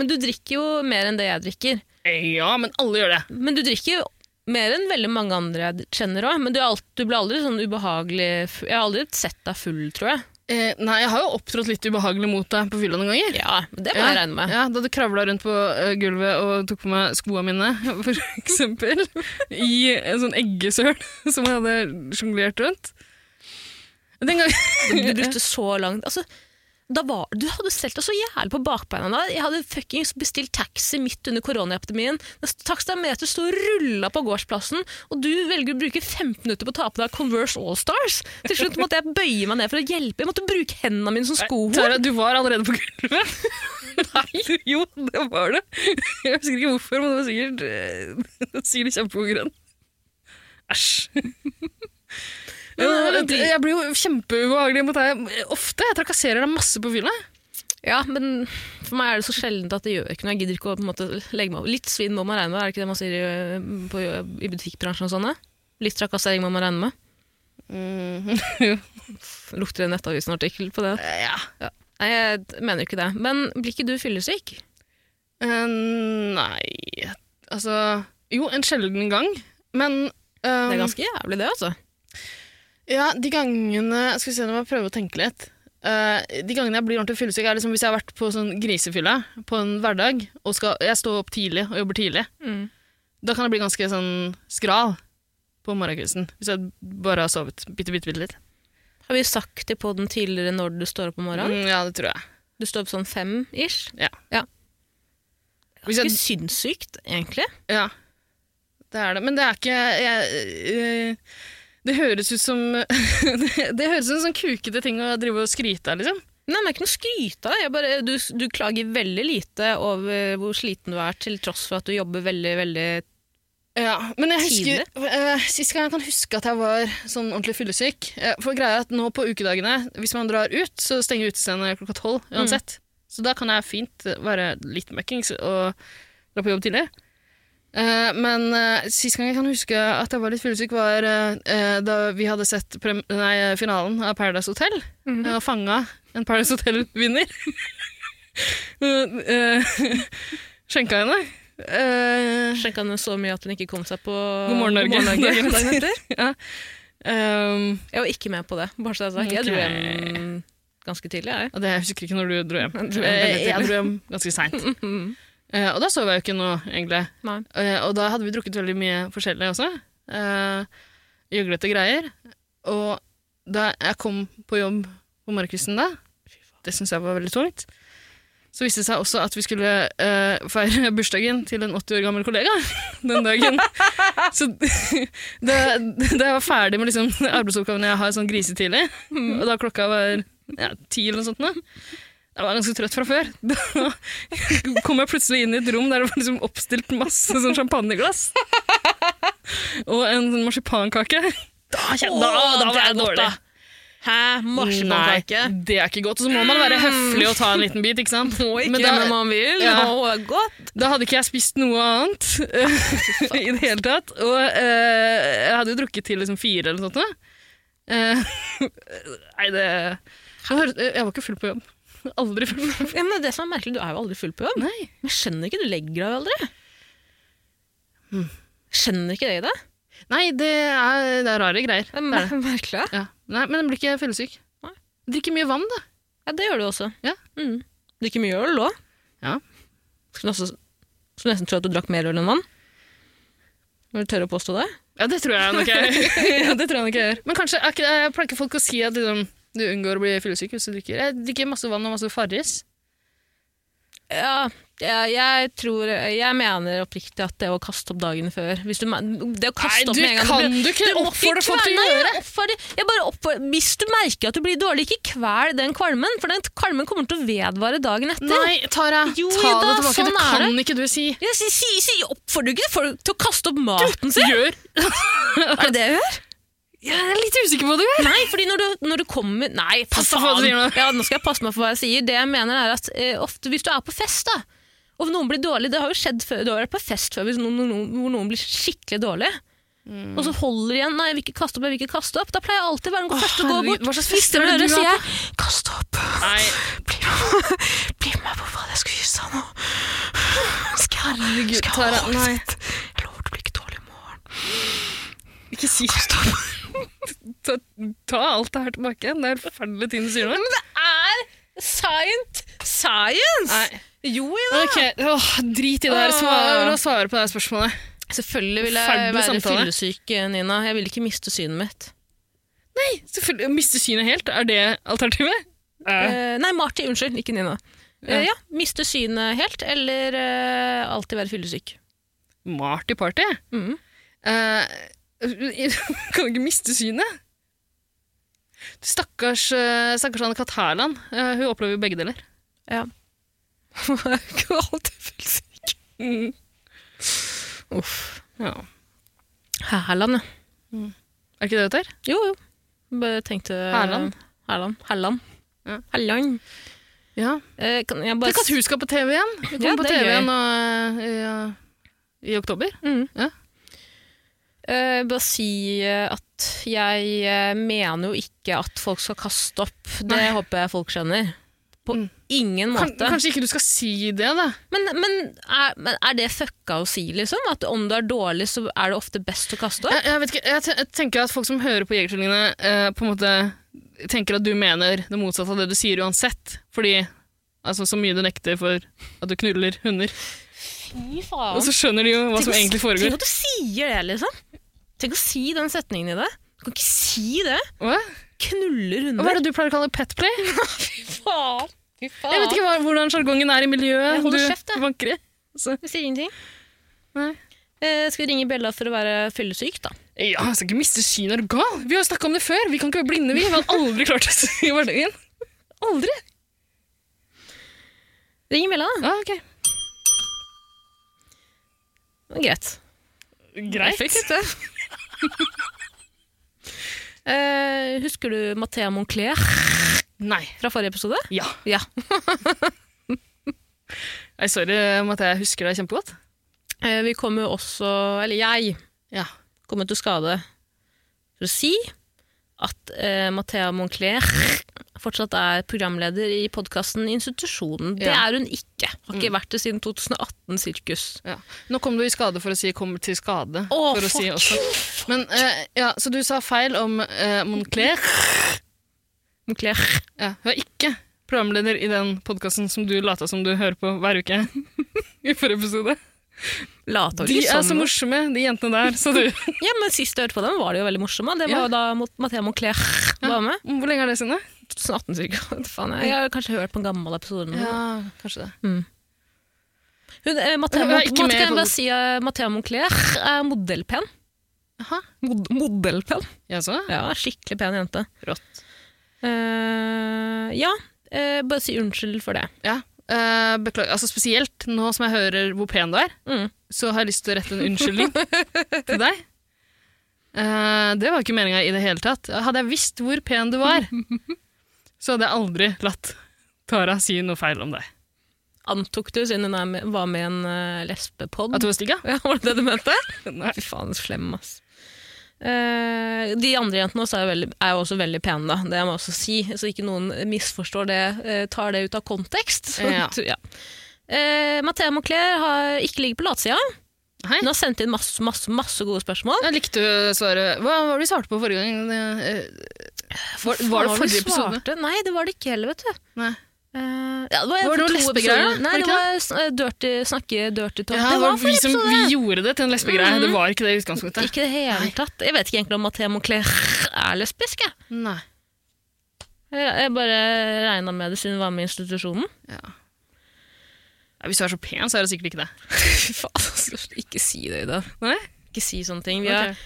Speaker 2: Men du drikker jo mer enn det jeg drikker.
Speaker 3: Eh, Ja, men alle gjør det.
Speaker 2: Men du drikker jo mer enn veldig mange andre jeg kjenner òg. Men du, er alt, du blir aldri sånn ubehagelig fu- Jeg har aldri sett deg full, tror jeg.
Speaker 3: Eh, nei, jeg har jo opptrådt litt ubehagelig mot deg på fylla noen ganger.
Speaker 2: Ja, Det må jeg regne med.
Speaker 3: Ja, Da du kravla rundt på eh, gulvet og tok på meg skoa mine, for eksempel. I en sånn eggesøl som jeg hadde sjonglert rundt. Den gangen
Speaker 2: Du brukte så langt altså, da var, Du hadde stelt deg så jævlig på bakbeina da. Jeg hadde fuckings bestilt taxi midt under koronaepidemien. Takstameteret sto og rulla på gårdsplassen, og du velger å bruke 15 minutter på å ta på deg Converse Allstars. Til slutt måtte jeg bøye meg ned for å hjelpe. Jeg måtte bruke hendene mine som skohorn.
Speaker 3: Tara, du var allerede på gulvet. Nei, jo, det var det. Jeg husker ikke hvorfor, men det var sikkert, eh, det var sikkert kjempekonkurrent. Æsj.
Speaker 2: Men,
Speaker 3: Jeg, jeg blir jo kjempeubehagelig mot deg ofte. Jeg trakasserer deg masse på fylla.
Speaker 2: Ja, men for meg er det så sjeldent at det gjør ikke noe. Jeg gidder ikke å på en måte, legge meg over. Litt svinn må man regne med, er det ikke det man sier i, på, i butikkbransjen og sånne? Litt trakassering må man regne med.
Speaker 3: jo.
Speaker 2: Lukter det Nettavisen-artikkel på det?
Speaker 3: Eh, Ja.
Speaker 2: Nei, jeg mener ikke det. Men blir ikke du fyllesyk?
Speaker 3: Eh, nei Altså Jo, en sjelden gang. Men
Speaker 2: Det er
Speaker 3: eh,
Speaker 2: ganske jævlig det, altså.
Speaker 3: Ja, de gangene Skal vi se, nå må jeg prøve å tenke litt. Eh, de gangene jeg blir ordentlig fyllesyk, er liksom hvis jeg har vært på sånn grisefylle på en hverdag, og skal, jeg står opp tidlig og jobber tidlig,
Speaker 2: Mm.
Speaker 3: da kan jeg bli ganske sånn skral på morgenkvisten. Hvis jeg bare har sovet bitte, bitte, bitte litt.
Speaker 2: Har vi sagt det på den tidligere når du står opp om morgenen?
Speaker 3: Mm, ja, det tror jeg.
Speaker 2: Du står opp sånn fem-ish?
Speaker 3: Ja. Hvis
Speaker 2: Ganske
Speaker 3: jeg
Speaker 2: sinnssykt, egentlig.
Speaker 3: Ja, det er det. Men det er ikke jeg, eh, Det høres ut som Det høres ut som en sånn kukete ting å drive og skryte av, liksom.
Speaker 2: Nei, men det er ikke noe å skryte av. Jeg bare- Du, du klager veldig lite over hvor sliten du er, til tross for at du jobber veldig, veldig
Speaker 3: Ja, men jeg husker eh, Sist gang jeg kan huske at jeg var sånn ordentlig fyllesyk eh, For greia er at nå på ukedagene, hvis man drar ut, så stenger utestedet klokka tolv uansett. Så da kan jeg fint være litt møkkings og dra på jobb tidlig. Eh, men eh, sist gang jeg kan huske at jeg var litt fyllesyk, var eh, eh, da vi hadde sett prem nei, finalen av Paradise Hotel eh, og fanga en Paradise Hotel-vinner. Eh, Skjenka henne. Eh,
Speaker 2: Skjenka henne så mye at hun ikke kom seg på
Speaker 3: God morgen, Norge.
Speaker 2: Dagen etter.
Speaker 3: ja. Ehm,
Speaker 2: Jeg var ikke med på det. Bare så det er sagt. Jeg dro hjem ganske tidlig, jeg.
Speaker 3: og det jeg husker ikke når du dro hjem.
Speaker 2: Jeg dro hjem
Speaker 3: Eh,
Speaker 2: veldig tidlig. Mm-hmm.
Speaker 3: Jeg dro hjem ganske seint. Eh, og da sov jeg jo ikke noe, egentlig.
Speaker 2: Nei.
Speaker 3: Eh, og da hadde vi drukket veldig mye forskjellig også. Uh, Gjøglete greier. Og da jeg kom på jobb på morgenkvisten da, det syns jeg var veldig tungt, så viste det seg også at vi skulle eh, feire bursdagen til en 80 år gammel kollega den dagen. Så da, da jeg var ferdig med liksom arbeidsoppgavene jeg har sånn grisetidlig, og da klokka var ja, ti eller noe sånt nå, jeg var ganske trøtt fra før. Da kom jeg plutselig inn i et rom der det var liksom oppstilt masse sånn champagneglass. Og en sånn marsipankake. Da, kjen- da, da var jeg dårlig.
Speaker 2: Hæ? Marsipankake?
Speaker 3: Nei, det er ikke godt. Og så må man være høflig og ta en liten bit, ikke sant?
Speaker 2: Må ikke
Speaker 3: Men
Speaker 2: det,
Speaker 3: da-
Speaker 2: men man vil.
Speaker 3: Ja.
Speaker 2: Å, godt.
Speaker 3: Da hadde ikke jeg spist noe annet eh, i det hele tatt. Og eh, jeg hadde jo drukket til liksom fire eller noe sånt. nå. Eh, nei, det jeg, hør- jeg var ikke full på jobb. Aldri full. på jobb.
Speaker 2: Ja, men det som er merkelig, Du er jo aldri full på jobb.
Speaker 3: Nei.
Speaker 2: Men jeg skjønner ikke, du legger deg jo aldri. Hmm. Skjønner ikke det i det?
Speaker 3: Nei, det er, det er rare greier.
Speaker 2: det, er
Speaker 3: Det er det.
Speaker 2: mer- merkelig.
Speaker 3: Ja. Nei, men jeg blir ikke fyllesyk.
Speaker 2: Nei.
Speaker 3: Drikker mye vann, da.
Speaker 2: Ja, det gjør du også.
Speaker 3: Ja.
Speaker 2: Mm. Drikker mye øl òg.
Speaker 3: Ja.
Speaker 2: Skulle også- skulle nesten tro at du drakk mer øl enn vann. Vil du tørre å påstå det?
Speaker 3: Ja, det tror jeg nok jeg, ja, det tror jeg nok jeg gjør. Men kanskje, er ikke- jeg pleier ikke folk å si at liksom, du unngår å bli fyllesyk hvis du drikker. Jeg drikker masse vann og masse Farris.
Speaker 2: Ja, jeg, jeg tror Jeg mener oppriktig at det å kaste opp dagen før hvis du, me- Det å kaste
Speaker 3: Nei,
Speaker 2: opp
Speaker 3: du
Speaker 2: med en gang
Speaker 3: kan
Speaker 2: blir-
Speaker 3: du ikke
Speaker 2: må
Speaker 3: oppfordre folk til å
Speaker 2: kverne-
Speaker 3: gjøre
Speaker 2: Nei, oppfordre- jeg bare oppfordrer- Hvis du merker at du blir dårlig, ikke kvel den kvalmen, for den kvalmen kommer til å vedvare dagen etter.
Speaker 3: Nei, Tara,
Speaker 2: Jo,
Speaker 3: ta
Speaker 2: Ida,
Speaker 3: det tilbake.
Speaker 2: sånn
Speaker 3: det
Speaker 2: er
Speaker 3: kan ikke du si.
Speaker 2: Jeg sier, sier, sier, oppfordrer ikke folk til å kaste opp maten sin?
Speaker 3: Gjør.
Speaker 2: Er det det jeg gjør?
Speaker 3: Jeg er litt usikker på hva du gjør.
Speaker 2: Nei, fordi når du, når du kommer Nei, for
Speaker 3: Pass deg for hva du
Speaker 2: faen.
Speaker 3: sier nå.
Speaker 2: Ja, nå skal jeg passe meg for hva jeg sier. Det jeg mener er at eh, ofte hvis du er på fest, da og noen blir dårlig, det har jo skjedd før, du har vært på fest før hvis noen, noen, hvor noen blir skikkelig dårlig.
Speaker 3: Mm.
Speaker 2: Og så holder igjen. Nei, jeg vil ikke kaste opp. jeg vil ikke kaste opp. Da pleier jeg alltid å være den første til å gå
Speaker 3: herregud,
Speaker 2: bort.
Speaker 3: hva slags
Speaker 2: Hvis
Speaker 3: fester
Speaker 2: dere
Speaker 3: er det du
Speaker 2: hører, sier
Speaker 3: har
Speaker 2: jeg, kast opp.
Speaker 3: Nei,
Speaker 2: Bli med, bli med på hva jeg skal kysse nå. Skal jeg
Speaker 3: herregud,
Speaker 2: skal jeg
Speaker 3: Tara.
Speaker 2: holde
Speaker 3: Nei,
Speaker 2: sitt? Jeg lover det blir ikke dårlig i morgen.
Speaker 3: ikke si ta, ta alt det her tilbake. Det er forferdelige ting du sier nå.
Speaker 2: Det er science! Science!
Speaker 3: Nei.
Speaker 2: Jo, jo.
Speaker 3: Ok, åh, Drit i det her. Svar, og svare på det her spørsmålet.
Speaker 2: Selvfølgelig vil jeg
Speaker 3: Forferdelig
Speaker 2: være
Speaker 3: samtale.
Speaker 2: fyllesyk, eh, Nina. Jeg vil ikke miste synet mitt.
Speaker 3: Selvfølgelig, Å miste synet helt, er det alternativet? Eh,
Speaker 2: Eh, nei, Marty. Unnskyld, ikke Nina. Eh, ja, Miste synet helt, eller eh, alltid være fyllesyk.
Speaker 3: Marty Party?
Speaker 2: Mhm.
Speaker 3: Eh, kan du ikke miste synet? Stakkars, eh, stakkars Anne-Kat. Hærland. Eh, hun opplever jo begge deler.
Speaker 2: Ja. Ikke alltid fyllesyk.
Speaker 3: Mm.
Speaker 2: Uff.
Speaker 3: Ja.
Speaker 2: Hærland, ja.
Speaker 3: Er ikke det det heter?
Speaker 2: Jo, jo. Bare tenkte
Speaker 3: Hærland?
Speaker 2: Hærland. Hærland.
Speaker 3: Ja.
Speaker 2: Hærland.
Speaker 3: Ja.
Speaker 2: Eh, kan jeg bare
Speaker 3: Tenk at hun skal på TV igjen! Hun kommer
Speaker 2: Ja,
Speaker 3: på
Speaker 2: det er
Speaker 3: TV
Speaker 2: gøy.
Speaker 3: igjen og, eh, i, i oktober.
Speaker 2: Mm.
Speaker 3: Ja.
Speaker 2: Eh, bare si eh, at jeg eh, mener jo ikke at folk skal kaste opp. Det
Speaker 3: Nei.
Speaker 2: håper jeg folk skjønner. På
Speaker 3: Mm.
Speaker 2: ingen
Speaker 3: Kan,
Speaker 2: måte.
Speaker 3: kanskje ikke du skal si det, da?
Speaker 2: Men, men, er, men er det fucka å si, liksom? At om du er dårlig, så er det ofte best å kaste opp?
Speaker 3: Jeg, jeg vet ikke, jeg, te- jeg tenker at folk som hører på Jegertvillingene, eh, på en måte tenker at du mener det motsatte av det du sier uansett. Fordi altså, så mye du nekter for at du knuller hunder.
Speaker 2: Fy
Speaker 3: Og
Speaker 2: faen.
Speaker 3: så skjønner de jo hva som egentlig foregår.
Speaker 2: Tenk at du sier det, liksom. Tenk å si den setningen i det. Du kan ikke si det.
Speaker 3: Hva?
Speaker 2: Knuller
Speaker 3: Og hva
Speaker 2: hunder.
Speaker 3: er det du pleier å kalle petplay?
Speaker 2: Fy faen. Fy faen.
Speaker 3: Jeg vet ikke hva, hvordan sjargongen er i miljøet
Speaker 2: Jeg holder
Speaker 3: du
Speaker 2: kjeft, jeg.
Speaker 3: vanker i. Så,
Speaker 2: Jeg sier ingenting.
Speaker 3: nei.
Speaker 2: Eh, skal vi ringe Bella for å være fyllesyk, da?
Speaker 3: Ja, jeg skal ikke miste synet, er du gal? Vi har jo snakka om det før. Vi kan ikke være blinde, vi. Vi har aldri klart oss i hverdagen. Aldri.
Speaker 2: Ring Bella, da.
Speaker 3: Ja, ok.
Speaker 2: Det var Greit.
Speaker 3: Greit.
Speaker 2: det. Eh, husker du Mathea Moncler
Speaker 3: Nei.
Speaker 2: fra forrige episode?
Speaker 3: Ja.
Speaker 2: Ja.
Speaker 3: Nei, sorry om at jeg husker deg kjempegodt.
Speaker 2: Eh, vi kom jo også, eller jeg,
Speaker 3: Ja.
Speaker 2: kom jo til skade for å si at eh, Mathea Moncler fortsatt er programleder i podkasten Institusjonen. Det
Speaker 3: Ja. Mm.
Speaker 2: er hun ikke. Har ikke vært det siden 2018 sirkus.
Speaker 3: Ja. Nå kom du i skade for å si 'kommer til
Speaker 2: Å,
Speaker 3: skade'. for å si
Speaker 2: fuck.
Speaker 3: også. Men, eh, ja, så du sa feil om eh, Moncler.
Speaker 2: Moncler.
Speaker 3: Ja, hun er ikke programleder i den podkasten som du lata som du hører på hver uke. I forrige episode.
Speaker 2: Lata jo
Speaker 3: De
Speaker 2: ikke
Speaker 3: er
Speaker 2: sånn.
Speaker 3: så morsomme, de jentene der. Så du.
Speaker 2: Ja, men Sist jeg hørte på dem, var de jo veldig morsomme. Det var
Speaker 3: Ja.
Speaker 2: jo da Mot- Mathea Moncler var med.
Speaker 3: Hvor lenge er det siden?
Speaker 2: 2018 Sånn cirka. Faen, jeg, jeg har kanskje hørt på en gammel episode. nå.
Speaker 3: Ja, kanskje det.
Speaker 2: Hun, eh, Mathea,
Speaker 3: Hun er
Speaker 2: Mon-
Speaker 3: ikke med i
Speaker 2: kan jeg bare
Speaker 3: podden.
Speaker 2: si eh, Mathea Moncler er modellpen.
Speaker 3: Jaha.
Speaker 2: Mod modellpen?
Speaker 3: Jaså?
Speaker 2: Ja, skikkelig pen jente.
Speaker 3: Rått.
Speaker 2: Eh, ja, eh, bare si unnskyld for det.
Speaker 3: Ja. eh, beklager. Altså, spesielt nå som jeg hører hvor pen du er,
Speaker 2: Mm.
Speaker 3: så har jeg lyst til å rette en unnskyldning til deg. Eh, det var ikke meninga i det hele tatt. Hadde jeg visst hvor pen du var, så hadde jeg aldri latt Tara si noe feil om deg.
Speaker 2: Antok du, siden hun er med, var med i en uh, lesbepod?
Speaker 3: At du var stygg, ja?
Speaker 2: Ja, var det det du mente?
Speaker 3: Nei.
Speaker 2: Fy faen, så slem, ass. Eh, de andre jentene også er, jo veldig, er jo også veldig pene, da. det må jeg også si, så ikke noen misforstår det, eh, tar det ut av kontekst. Så,
Speaker 3: Ja.
Speaker 2: ja. Eh, Mathea Moclair har ikke ligget på latsida.
Speaker 3: Hei. Eh,
Speaker 2: Hun har sendt inn masse, masse, masse gode spørsmål.
Speaker 3: Jeg likte svaret. Hva var det vi svarte på forrige gang? Eh, Var, var det
Speaker 2: Hva
Speaker 3: forrige
Speaker 2: vi svarte?
Speaker 3: episode?
Speaker 2: Nei, det var det ikke heller, vet du.
Speaker 3: Nei.
Speaker 2: Eh, ja, det var,
Speaker 3: Var det
Speaker 2: for
Speaker 3: noen
Speaker 2: to
Speaker 3: lesbegreier,
Speaker 2: episoder.
Speaker 3: da?
Speaker 2: Nei,
Speaker 3: Var det
Speaker 2: det var eh, dirty, snakke dirty talk.
Speaker 3: Ja,
Speaker 2: det var
Speaker 3: vi,
Speaker 2: forrige
Speaker 3: som,
Speaker 2: episode!
Speaker 3: vi gjorde det til en lesbegreie. Det var ikke det i utgangspunktet.
Speaker 2: Ikke i det hele tatt. Jeg vet ikke egentlig om Mathea Moclair er lesbisk, jeg.
Speaker 3: Nei.
Speaker 2: Jeg jeg bare regna med det siden hun var med i institusjonen.
Speaker 3: Ja. Nei, Hvis du er så pen, så er det sikkert ikke det.
Speaker 2: Fy faen, altså, ikke si det, Ida.
Speaker 3: Nei?
Speaker 2: Ikke si sånne ting. Vi
Speaker 3: Ok.
Speaker 2: har,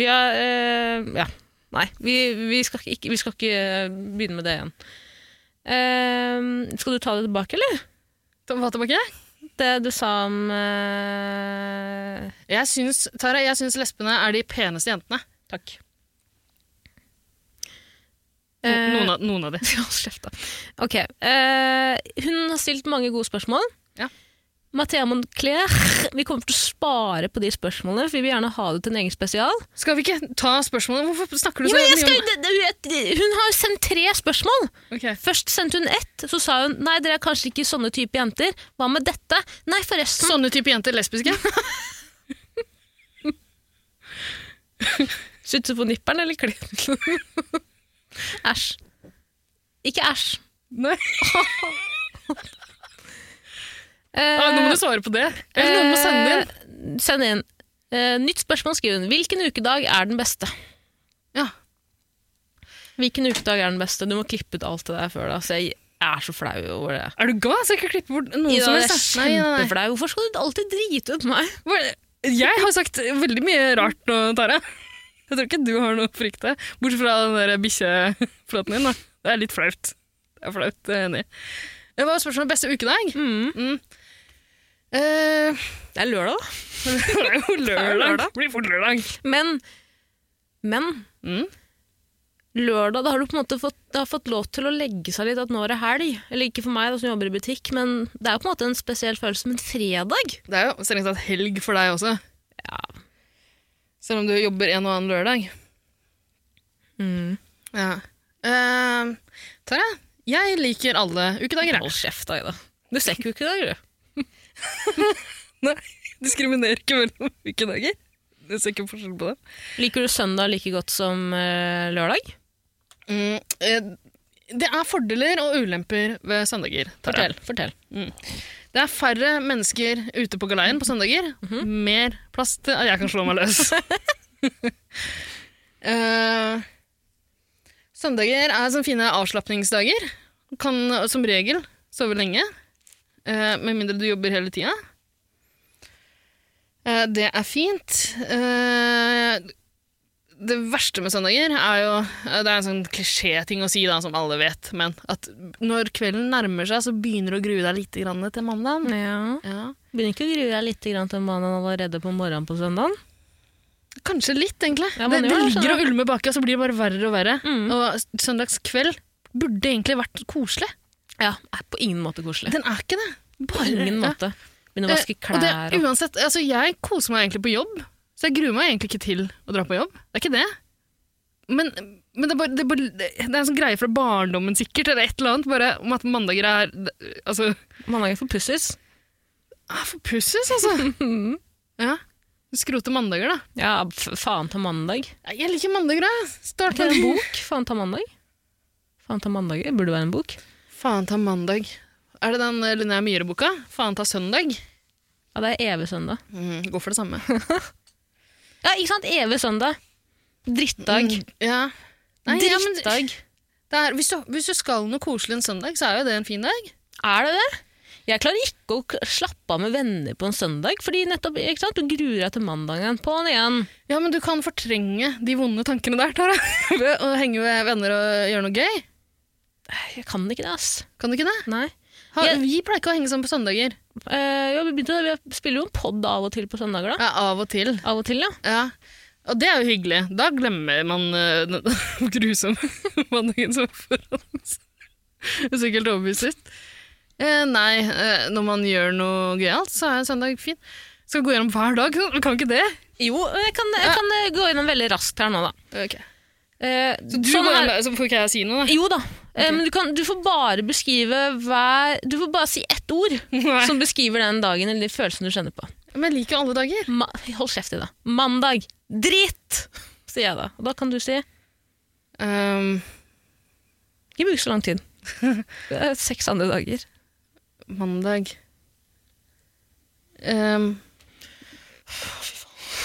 Speaker 2: vi har eh, Ja. Nei, vi, vi, skal ikke, vi skal ikke eh, begynne med det igjen. Eh, skal du ta det tilbake, eller?
Speaker 3: Ta- Hva tilbake?
Speaker 2: Det du sa om eh,
Speaker 3: Jeg syns, Tara, jeg syns lesbene er de peneste jentene.
Speaker 2: Takk.
Speaker 3: No-
Speaker 2: Eh,
Speaker 3: Noen av, noen av de.
Speaker 2: eh, Ja, Hold kjeft, da. Ok. eh, hun har stilt mange gode spørsmål.
Speaker 3: Ja.
Speaker 2: Mathea Moncler, vi kommer til å spare på de spørsmålene, for vi vil gjerne ha det til en egen spesial.
Speaker 3: Skal vi ikke ta spørsmålet? Hvorfor snakker du sånn?
Speaker 2: Ja,
Speaker 3: så
Speaker 2: men jeg
Speaker 3: mye
Speaker 2: skal,
Speaker 3: om
Speaker 2: det, det, hun har jo sendt tre spørsmål!
Speaker 3: Ok.
Speaker 2: Først sendte hun ett, så sa hun nei, dere er kanskje ikke sånne type jenter. Hva med dette? Nei, forresten.
Speaker 3: Sånne type jenter lesbiske?
Speaker 2: Sutte på nipperen eller klitten? æsj. Ikke æsj.
Speaker 3: Nei.
Speaker 2: Eh,
Speaker 3: Ja, nå må du svare på det. Eller noen må sende inn.
Speaker 2: eh, Send inn. Eh, nytt spørsmål skriver hun. Hvilken ukedag er den beste?
Speaker 3: Eh, Ja.
Speaker 2: Hvilken ukedag er den beste? Du må klippe ut alt det der før da, så jeg er så flau over det.
Speaker 3: Er du gal? Jeg skal ikke klippe bort noen
Speaker 2: Ida,
Speaker 3: Mm, som
Speaker 2: jeg
Speaker 3: helst.
Speaker 2: er
Speaker 3: da. Nei, nei, nei.
Speaker 2: kjempeflau. Hvorfor skal du alltid drite ut meg?
Speaker 3: Hvor- Jeg har sagt veldig mye rart nå, Tara. Jeg tror ikke du har noe å frykte. Bortsett fra den der bikkjepraten din. Da. Det er litt flaut. Det er flaut, eh, jeg er enig. Det var spørsmålet om beste ukedag. Mm. Eh,
Speaker 2: Det er lørdag, da.
Speaker 3: det er jo lørdag.
Speaker 2: lørdag.
Speaker 3: Det blir fort lørdag.
Speaker 2: Men, men
Speaker 3: Mm.
Speaker 2: lørdag, da har du på en måte fått, det har fått lov til å legge seg litt at nå er det helg. Eller ikke for meg da, som jobber i butikk, men det er jo på en måte en spesiell følelse. Men fredag?
Speaker 3: Det er jo strengt tatt helg for deg også.
Speaker 2: Ja.
Speaker 3: Selv om du jobber en og annen lørdag. Mm. Ja. Eh, Tara, jeg liker alle ukedager. jeg.
Speaker 2: Hold kjeft, Aida. Du ser ikke ukedager, du.
Speaker 3: Nei, diskriminerer ikke mellom ukedager. Jeg ser ikke forskjell på dem.
Speaker 2: Liker du søndag like godt som eh, lørdag?
Speaker 3: Mm, eh, det er fordeler og ulemper ved søndager. Tara.
Speaker 2: Fortell. fortell.
Speaker 3: Det er færre mennesker ute på galeien på søndager. Mer plass til at jeg kan slå meg løs. Eh, søndager er sånne fine avslapningsdager. Kan som regel sove lenge. eh, med mindre du jobber hele tida. Eh, det er fint. Eh, det verste med søndager er jo Det er en sånn klisjé-ting å si, da, som alle vet, men at når kvelden nærmer seg, så begynner du å grue deg litt grann til mandagen.
Speaker 2: Ja.
Speaker 3: Ja.
Speaker 2: Begynner ikke å grue deg litt grann til mannen allerede på morgenen på søndagen?
Speaker 3: Kanskje litt, egentlig.
Speaker 2: Ja,
Speaker 3: det,
Speaker 2: man
Speaker 3: det
Speaker 2: gjør det,
Speaker 3: ligger
Speaker 2: skjønner
Speaker 3: og ulmer baki, og så blir det bare verre og verre.
Speaker 2: Mm.
Speaker 3: Og s- søndagskveld burde egentlig vært koselig.
Speaker 2: Ja, er på ingen måte koselig.
Speaker 3: Den er ikke det.
Speaker 2: På ingen
Speaker 3: Ja.
Speaker 2: måte. Begynne å vaske
Speaker 3: Eh, og det,
Speaker 2: klær og
Speaker 3: uansett, altså, jeg koser meg egentlig på jobb, så jeg gruer meg egentlig ikke til å dra på jobb. Det er ikke det. Men, men det, er bare, det, er bare, det er en sånn greie fra barndommen sikkert, eller et eller annet, bare om at mandager er altså,
Speaker 2: Mandagen for pussis.
Speaker 3: ah, forpusses, altså. ja. Skrote mandager, da.
Speaker 2: Ja, f faen ta mandag.
Speaker 3: Nei, Jeg liker mandager, da.
Speaker 2: Er
Speaker 3: Start
Speaker 2: ikke
Speaker 3: med
Speaker 2: det en bok? Faen ta mandag? Faen ta mandager burde være en bok.
Speaker 3: Faen ta mandag. Er det den eh, Linnea Myhre-boka? Faen ta søndag.
Speaker 2: Ja, det er evig søndag.
Speaker 3: Mm, går for det samme.
Speaker 2: Ja, ikke sant? Evig søndag. Drittdag.
Speaker 3: Mm, ja. Nei, ja, men-
Speaker 2: Drittdag.
Speaker 3: Det er, hvis, du, hvis du skal noe koselig en søndag, så er jo det en fin dag.
Speaker 2: Er det det? Jeg klarer ikke å k- slappe av med venner på en søndag, fordi nettopp, ikke sant? du gruer deg til mandagen. På'n igjen.
Speaker 3: Ja, men du kan fortrenge de vonde tankene der, Tara. Ved å henge med venner og gjøre noe gøy.
Speaker 2: Jeg kan ikke det, ass.
Speaker 3: Kan du ikke det?
Speaker 2: Nei.
Speaker 3: Ha,
Speaker 2: Jeg-
Speaker 3: Vi pleier ikke å henge sammen på søndager.
Speaker 2: Eh, ja, vi, begynte, vi spiller jo en pod av og til på søndager, da.
Speaker 3: Ja, av og til.
Speaker 2: Av og til, ja.
Speaker 3: Ja. Og det er jo hyggelig. Da glemmer man eh, den grusomme mandagen som er foran oss. Jeg er Sikkert overbevist. Eh, nei, eh, når man gjør noe gøyalt, så er søndag fin. Skal gå gjennom hver dag, så kan ikke det?
Speaker 2: Jo, jeg kan, jeg kan eh, gå gjennom veldig raskt her nå, da.
Speaker 3: Ok.
Speaker 2: Eh,
Speaker 3: Så, du
Speaker 2: sånn
Speaker 3: går
Speaker 2: er-
Speaker 3: gjennom, så får ikke jeg si noe, da?
Speaker 2: Jo da. Eh, men du, kan, du får bare beskrive hver Du får bare si ett ord
Speaker 3: Nei. Sånn
Speaker 2: som beskriver den dagen eller de følelsene du kjenner på.
Speaker 3: Men jeg liker jo alle dager.
Speaker 2: Ma Hold kjeft i det. Mandag. Dritt! Sier jeg da. Og da kan du si
Speaker 3: Ehm,
Speaker 2: Ikke bruk så lang tid. Det er seks andre dager.
Speaker 3: mandag Ehm.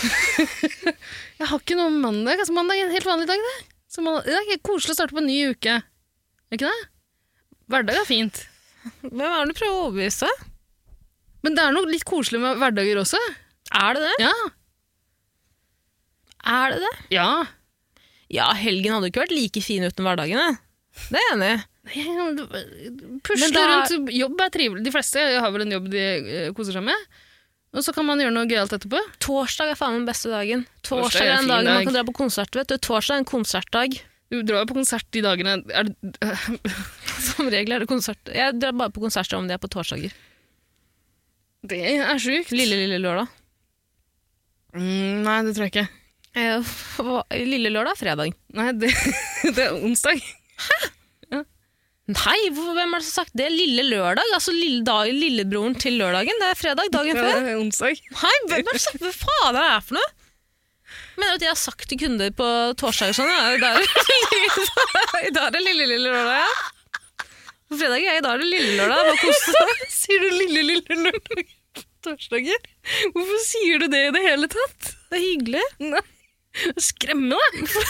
Speaker 3: Jeg har ikke noe om mandag. Altså, mandag er en helt vanlig dag. Det, så mandag, det er ikke koselig å starte på en ny uke. Er ikke det? Hverdag er fint.
Speaker 2: Hvem er det du prøver å overbevise?
Speaker 3: Men det er noe litt koselig med hverdager også.
Speaker 2: Er det det?
Speaker 3: Ja.
Speaker 2: Er det det?
Speaker 3: ja.
Speaker 2: Ja, helgen hadde jo ikke vært like fin uten hverdagene. Det er jeg enig i.
Speaker 3: Pusle
Speaker 2: Men da-
Speaker 3: rundt. Jobb er trivelig. De fleste har vel en jobb de eh, koser seg med. Og så kan man gjøre noe gøyalt etterpå.
Speaker 2: Torsdag er faen den beste dagen. Torsdag,
Speaker 3: Torsdag er
Speaker 2: er
Speaker 3: en
Speaker 2: den
Speaker 3: fin
Speaker 2: dagen man
Speaker 3: dag.
Speaker 2: kan dra på konsert. vet du. Torsdag er en konsertdag.
Speaker 3: Du drar jo på konsert de dagene er det,
Speaker 2: Som regel er det konsert. Jeg drar bare på konsert om det er på torsdager.
Speaker 3: Det er sjukt.
Speaker 2: Lille, lille lørdag.
Speaker 3: Mm, nei, det tror jeg ikke.
Speaker 2: Eh, hva- Lille lørdag er fredag.
Speaker 3: Nei, det, det er onsdag.
Speaker 2: Nei, hvor- hvem har det som har sagt det? Lille lørdag? Altså lille dag, lillebroren til lørdagen? Det er fredag dagen
Speaker 3: Ja,
Speaker 2: før.
Speaker 3: det er onsdag.
Speaker 2: Nei, hvem er det som- hva faen er det her for noe? Mener du at jeg har sagt til kunder på torsdag og sånn? ja, I dag er- i dag er det lille, lille lørdag, ja. På fredag ja, i dag er det lille lørdag. Bare kos deg.
Speaker 3: Sier du lille, lille lørdag på torsdager? Hvorfor sier du det i det hele tatt?
Speaker 2: Det er hyggelig.
Speaker 3: Nei. Skremmende!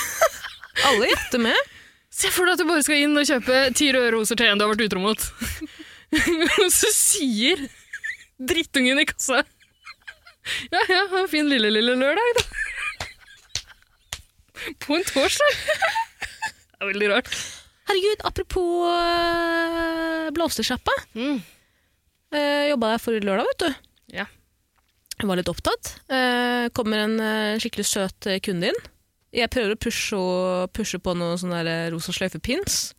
Speaker 2: Alle gjetter med.
Speaker 3: Se for deg at du bare skal inn og kjøpe ti røde roser til en du har vært utro mot. Og så sier drittungen i kassa Ja, ja, ha en fin lille, lille lørdag, da. På en torsdag. Det er veldig rart.
Speaker 2: Herregud, apropos øh, blomstersjappa.
Speaker 3: Mm.
Speaker 2: Øh, Jobba der forrige lørdag, vet du.
Speaker 3: Ja.
Speaker 2: Jeg var litt opptatt. Eh, kommer en eh, skikkelig søt eh, kunde inn. Jeg prøver å pushe, og- pushe på noen sånne der eh, rosa sløyfe-pins.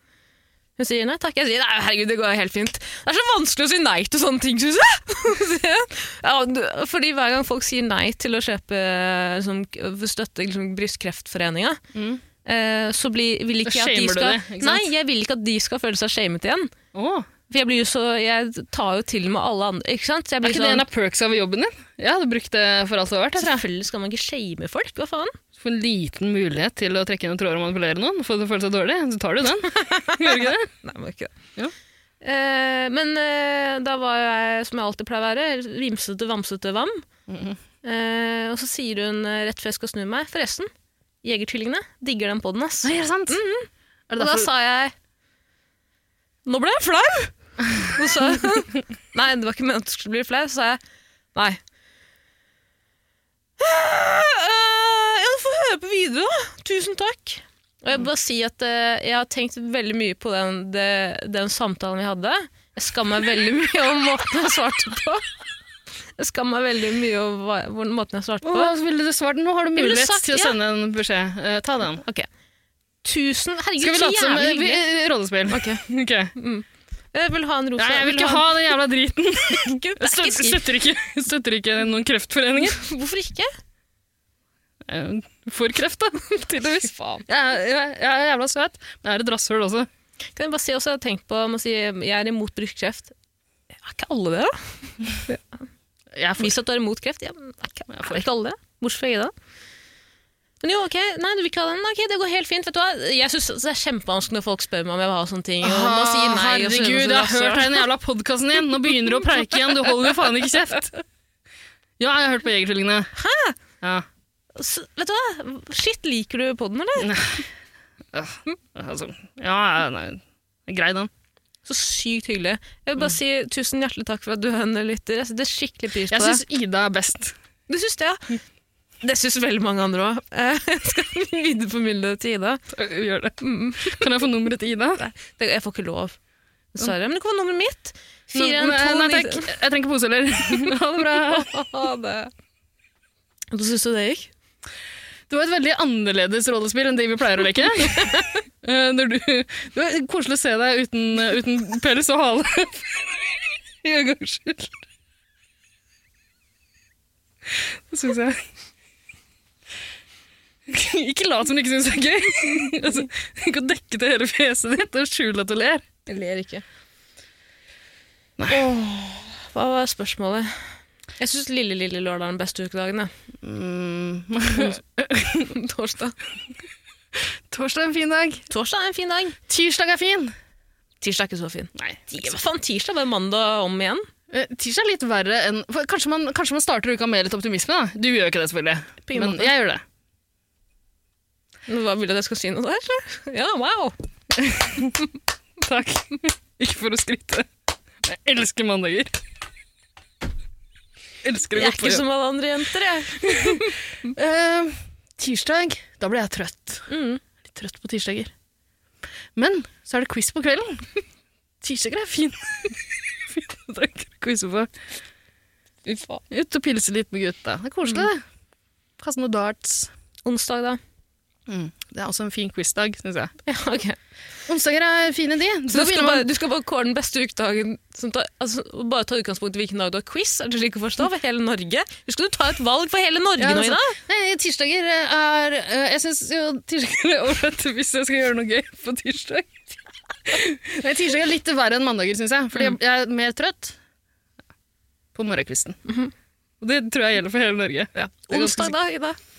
Speaker 2: Hun sier nei takk. Jeg sier nei, herregud, det går jo helt fint. Det er så vanskelig å si nei til sånne ting, syns jeg. Sier jeg. ja, du- fordi hver gang folk sier nei til å kjøpe eh, liksom, støtte liksom, Brystkreftforeninga,
Speaker 3: Mm.
Speaker 2: eh, så blir, vil
Speaker 3: Da
Speaker 2: ikke jeg at de
Speaker 3: shamer du
Speaker 2: skal
Speaker 3: det, ikke sant?
Speaker 2: Nei, jeg vil ikke at de skal føle seg shamet igjen.
Speaker 3: Åh.
Speaker 2: For jeg, blir jo så, jeg tar jo til med alle andre. Ikke sant? Jeg
Speaker 3: Er
Speaker 2: blir
Speaker 3: ikke
Speaker 2: sånn-
Speaker 3: det en av perksa ved jobben din? Jeg hadde brukt det for alt det var verdt. altså.
Speaker 2: Selvfølgelig skal man ikke shame folk, hva faen?
Speaker 3: Få en liten mulighet til å trekke inn en tråd og manipulere noen. For det føles dårlig, så tar du den. Gjør du ikke det?
Speaker 2: Nei, men ikke det.
Speaker 3: Jo.
Speaker 2: Eh, men eh, da var jeg, som jeg alltid pleier å være, vimsete, vamsete vam. eh, og så sier hun eh, rett før jeg skal snu meg, forresten, Jegertvillingene, digger den podden, ass.
Speaker 3: er det sant? Er
Speaker 2: Og
Speaker 3: det
Speaker 2: da
Speaker 3: derfor...
Speaker 2: sa jeg Nå ble jeg flau! Og så Nei, det var ikke meningen at du skulle bli flau. Så sa jeg nei. «Eh, Ja, du får høre på videre, da. Tusen takk. Og jeg vil bare si at eh, jeg har tenkt veldig mye på den, det- den samtalen vi hadde. Jeg skammer meg veldig mye over måten jeg svarte på. Jeg skammer meg veldig mye over hva- hvor- måten jeg svarte på.
Speaker 3: Åh, hva ville du svart? Nå har du
Speaker 2: ville
Speaker 3: mulighet
Speaker 2: sagt
Speaker 3: til å
Speaker 2: ja.
Speaker 3: sende en beskjed. Eh, ta den.
Speaker 2: Ok. Tusen Herregud,
Speaker 3: Skal vi
Speaker 2: så
Speaker 3: late som
Speaker 2: jævlig
Speaker 3: eh, vi,
Speaker 2: hyggelig.
Speaker 3: eh, rollespill? Ok.
Speaker 2: Jeg vil ha en rosa.
Speaker 3: Nei, jeg vil
Speaker 2: ha
Speaker 3: ikke
Speaker 2: en-
Speaker 3: ha den jævla driten.
Speaker 2: Gud, det er
Speaker 3: Støt-
Speaker 2: ikke skriv.
Speaker 3: Støtter ikke, støtter ikke noen kreftforeninger.
Speaker 2: Hvorfor ikke?
Speaker 3: Eh, For kreft, da. Tydeligvis. Jeg, er- jeg, er- jeg er jævla søt, men jeg er et rasshøl også.
Speaker 2: Kan jeg bare si også, jeg har tenkt på om å si jeg er imot brystkreft. Er ikke alle det, da?
Speaker 3: Jeg er for...
Speaker 2: Vis at du er imot kreft. Ja, men er, ikke,
Speaker 3: Jeg får-
Speaker 2: er ikke alle det? Bortsett fra Ida. Men jo, ok, nei, du vil ikke ha den? Ok, det går helt fint. Vet du hva? Jeg synes det er kjempevanskelig når folk spør meg om jeg vil ha sånne ting. Og man sier nei, og så-
Speaker 3: Herregud, jeg har hørt den jævla podkasten din! Nå begynner du å preike igjen, du holder jo faen ikke kjeft! Ja, jeg har hørt på Jegertvillingene. Hæ? Ja.
Speaker 2: Så- Vet du hva? Shit, liker du podden, eller?
Speaker 3: Øh, Altså, ja, ja, nei. Grei den.
Speaker 2: Så sykt hyggelig. Jeg vil bare si tusen hjertelig takk for at du hønner lytter. Jeg setter skikkelig pris på
Speaker 3: Jeg
Speaker 2: det.
Speaker 3: syns Ida er best.
Speaker 2: Du syns det, ja? Det syns veldig mange andre òg. Jeg skal videreformidle det til Ida.
Speaker 3: Gjør det.
Speaker 2: Mm.
Speaker 3: Kan jeg få nummeret til Ida? Nei,
Speaker 2: Det, jeg får ikke lov. Dessverre. Men du kan få nummeret mitt.
Speaker 3: nei takk.
Speaker 2: 4129
Speaker 3: Jeg trenger poseler. Ha det bra.
Speaker 2: Ha det. Hvordan syns du det gikk?
Speaker 3: Det var et veldig annerledes rollespill enn de vi pleier å leke. Eh, Når du, det var koselig å se deg uten, uten pels og hale. I en gangs skyld. Det syns jeg. Ikke lat som du ikke syns det er gøy. Altså, ikke å dekke til hele fjeset ditt og skjule at du ler.
Speaker 2: Jeg ler ikke. Åh, hva var spørsmålet? Jeg syns lille, lille lørdag er den beste ukedagen. jeg. Mm. Torsdag.
Speaker 3: Torsdag er en fin dag.
Speaker 2: Torsdag er en fin dag.
Speaker 3: Tirsdag er fin.
Speaker 2: Tirsdag er ikke så fin.
Speaker 3: Nei,
Speaker 2: Hva faen, tirsdag var mandag om igjen.
Speaker 3: Eh, Tirsdag er litt verre enn for kanskje, man, kanskje man starter uka med litt optimisme, da. Du gjør jo ikke det, selvfølgelig.
Speaker 2: På ingen
Speaker 3: Men
Speaker 2: måte.
Speaker 3: jeg gjør det.
Speaker 2: Hva Vil du at jeg skal si noe der? eller? Ja, wow.
Speaker 3: Takk. Ikke for å skryte. Jeg elsker mandager. Elsker å
Speaker 2: Jeg
Speaker 3: gå
Speaker 2: er ikke
Speaker 3: på jobb.
Speaker 2: som alle andre jenter, jeg.
Speaker 3: Eh, tirsdag, da blir jeg trøtt.
Speaker 2: Mm.
Speaker 3: Litt trøtt på tirsdager. Men så er det quiz på kvelden. Tirsdager er fin. Fine dager å quize på.
Speaker 2: Fy faen.
Speaker 3: Mm. Ut og pilse litt med gutta. Det er koselig, det. Kaste noe darts.
Speaker 2: Onsdag, da.
Speaker 3: Mm. Det er også en fin quizdag, syns jeg.
Speaker 2: Ja, ok.
Speaker 3: Onsdager er fine, de.
Speaker 2: Så
Speaker 3: Da
Speaker 2: du skal,
Speaker 3: begynner man-
Speaker 2: bare, du skal bare kåre den beste ukedagen som tar- altså, og Bare ta utgangspunkt i hvilken dag du har quiz? Er det slik å forstå? For hele Norge? Husker du ta et valg for hele Norge
Speaker 3: Ja,
Speaker 2: nå,
Speaker 3: altså,
Speaker 2: Ida?
Speaker 3: Nei, tirsdager er eh, Jeg syns jo tirsdager er ålreit hvis jeg skal gjøre noe gøy på tirsdag. Nei, tirsdag er litt verre enn mandager, syns jeg.
Speaker 2: Mm.
Speaker 3: Fordi jeg, jeg er mer trøtt på morgenkvisten. Og det tror jeg gjelder for hele Norge. Det er ganske
Speaker 2: Mhm. Onsdag, da, Ida?
Speaker 3: sikkert.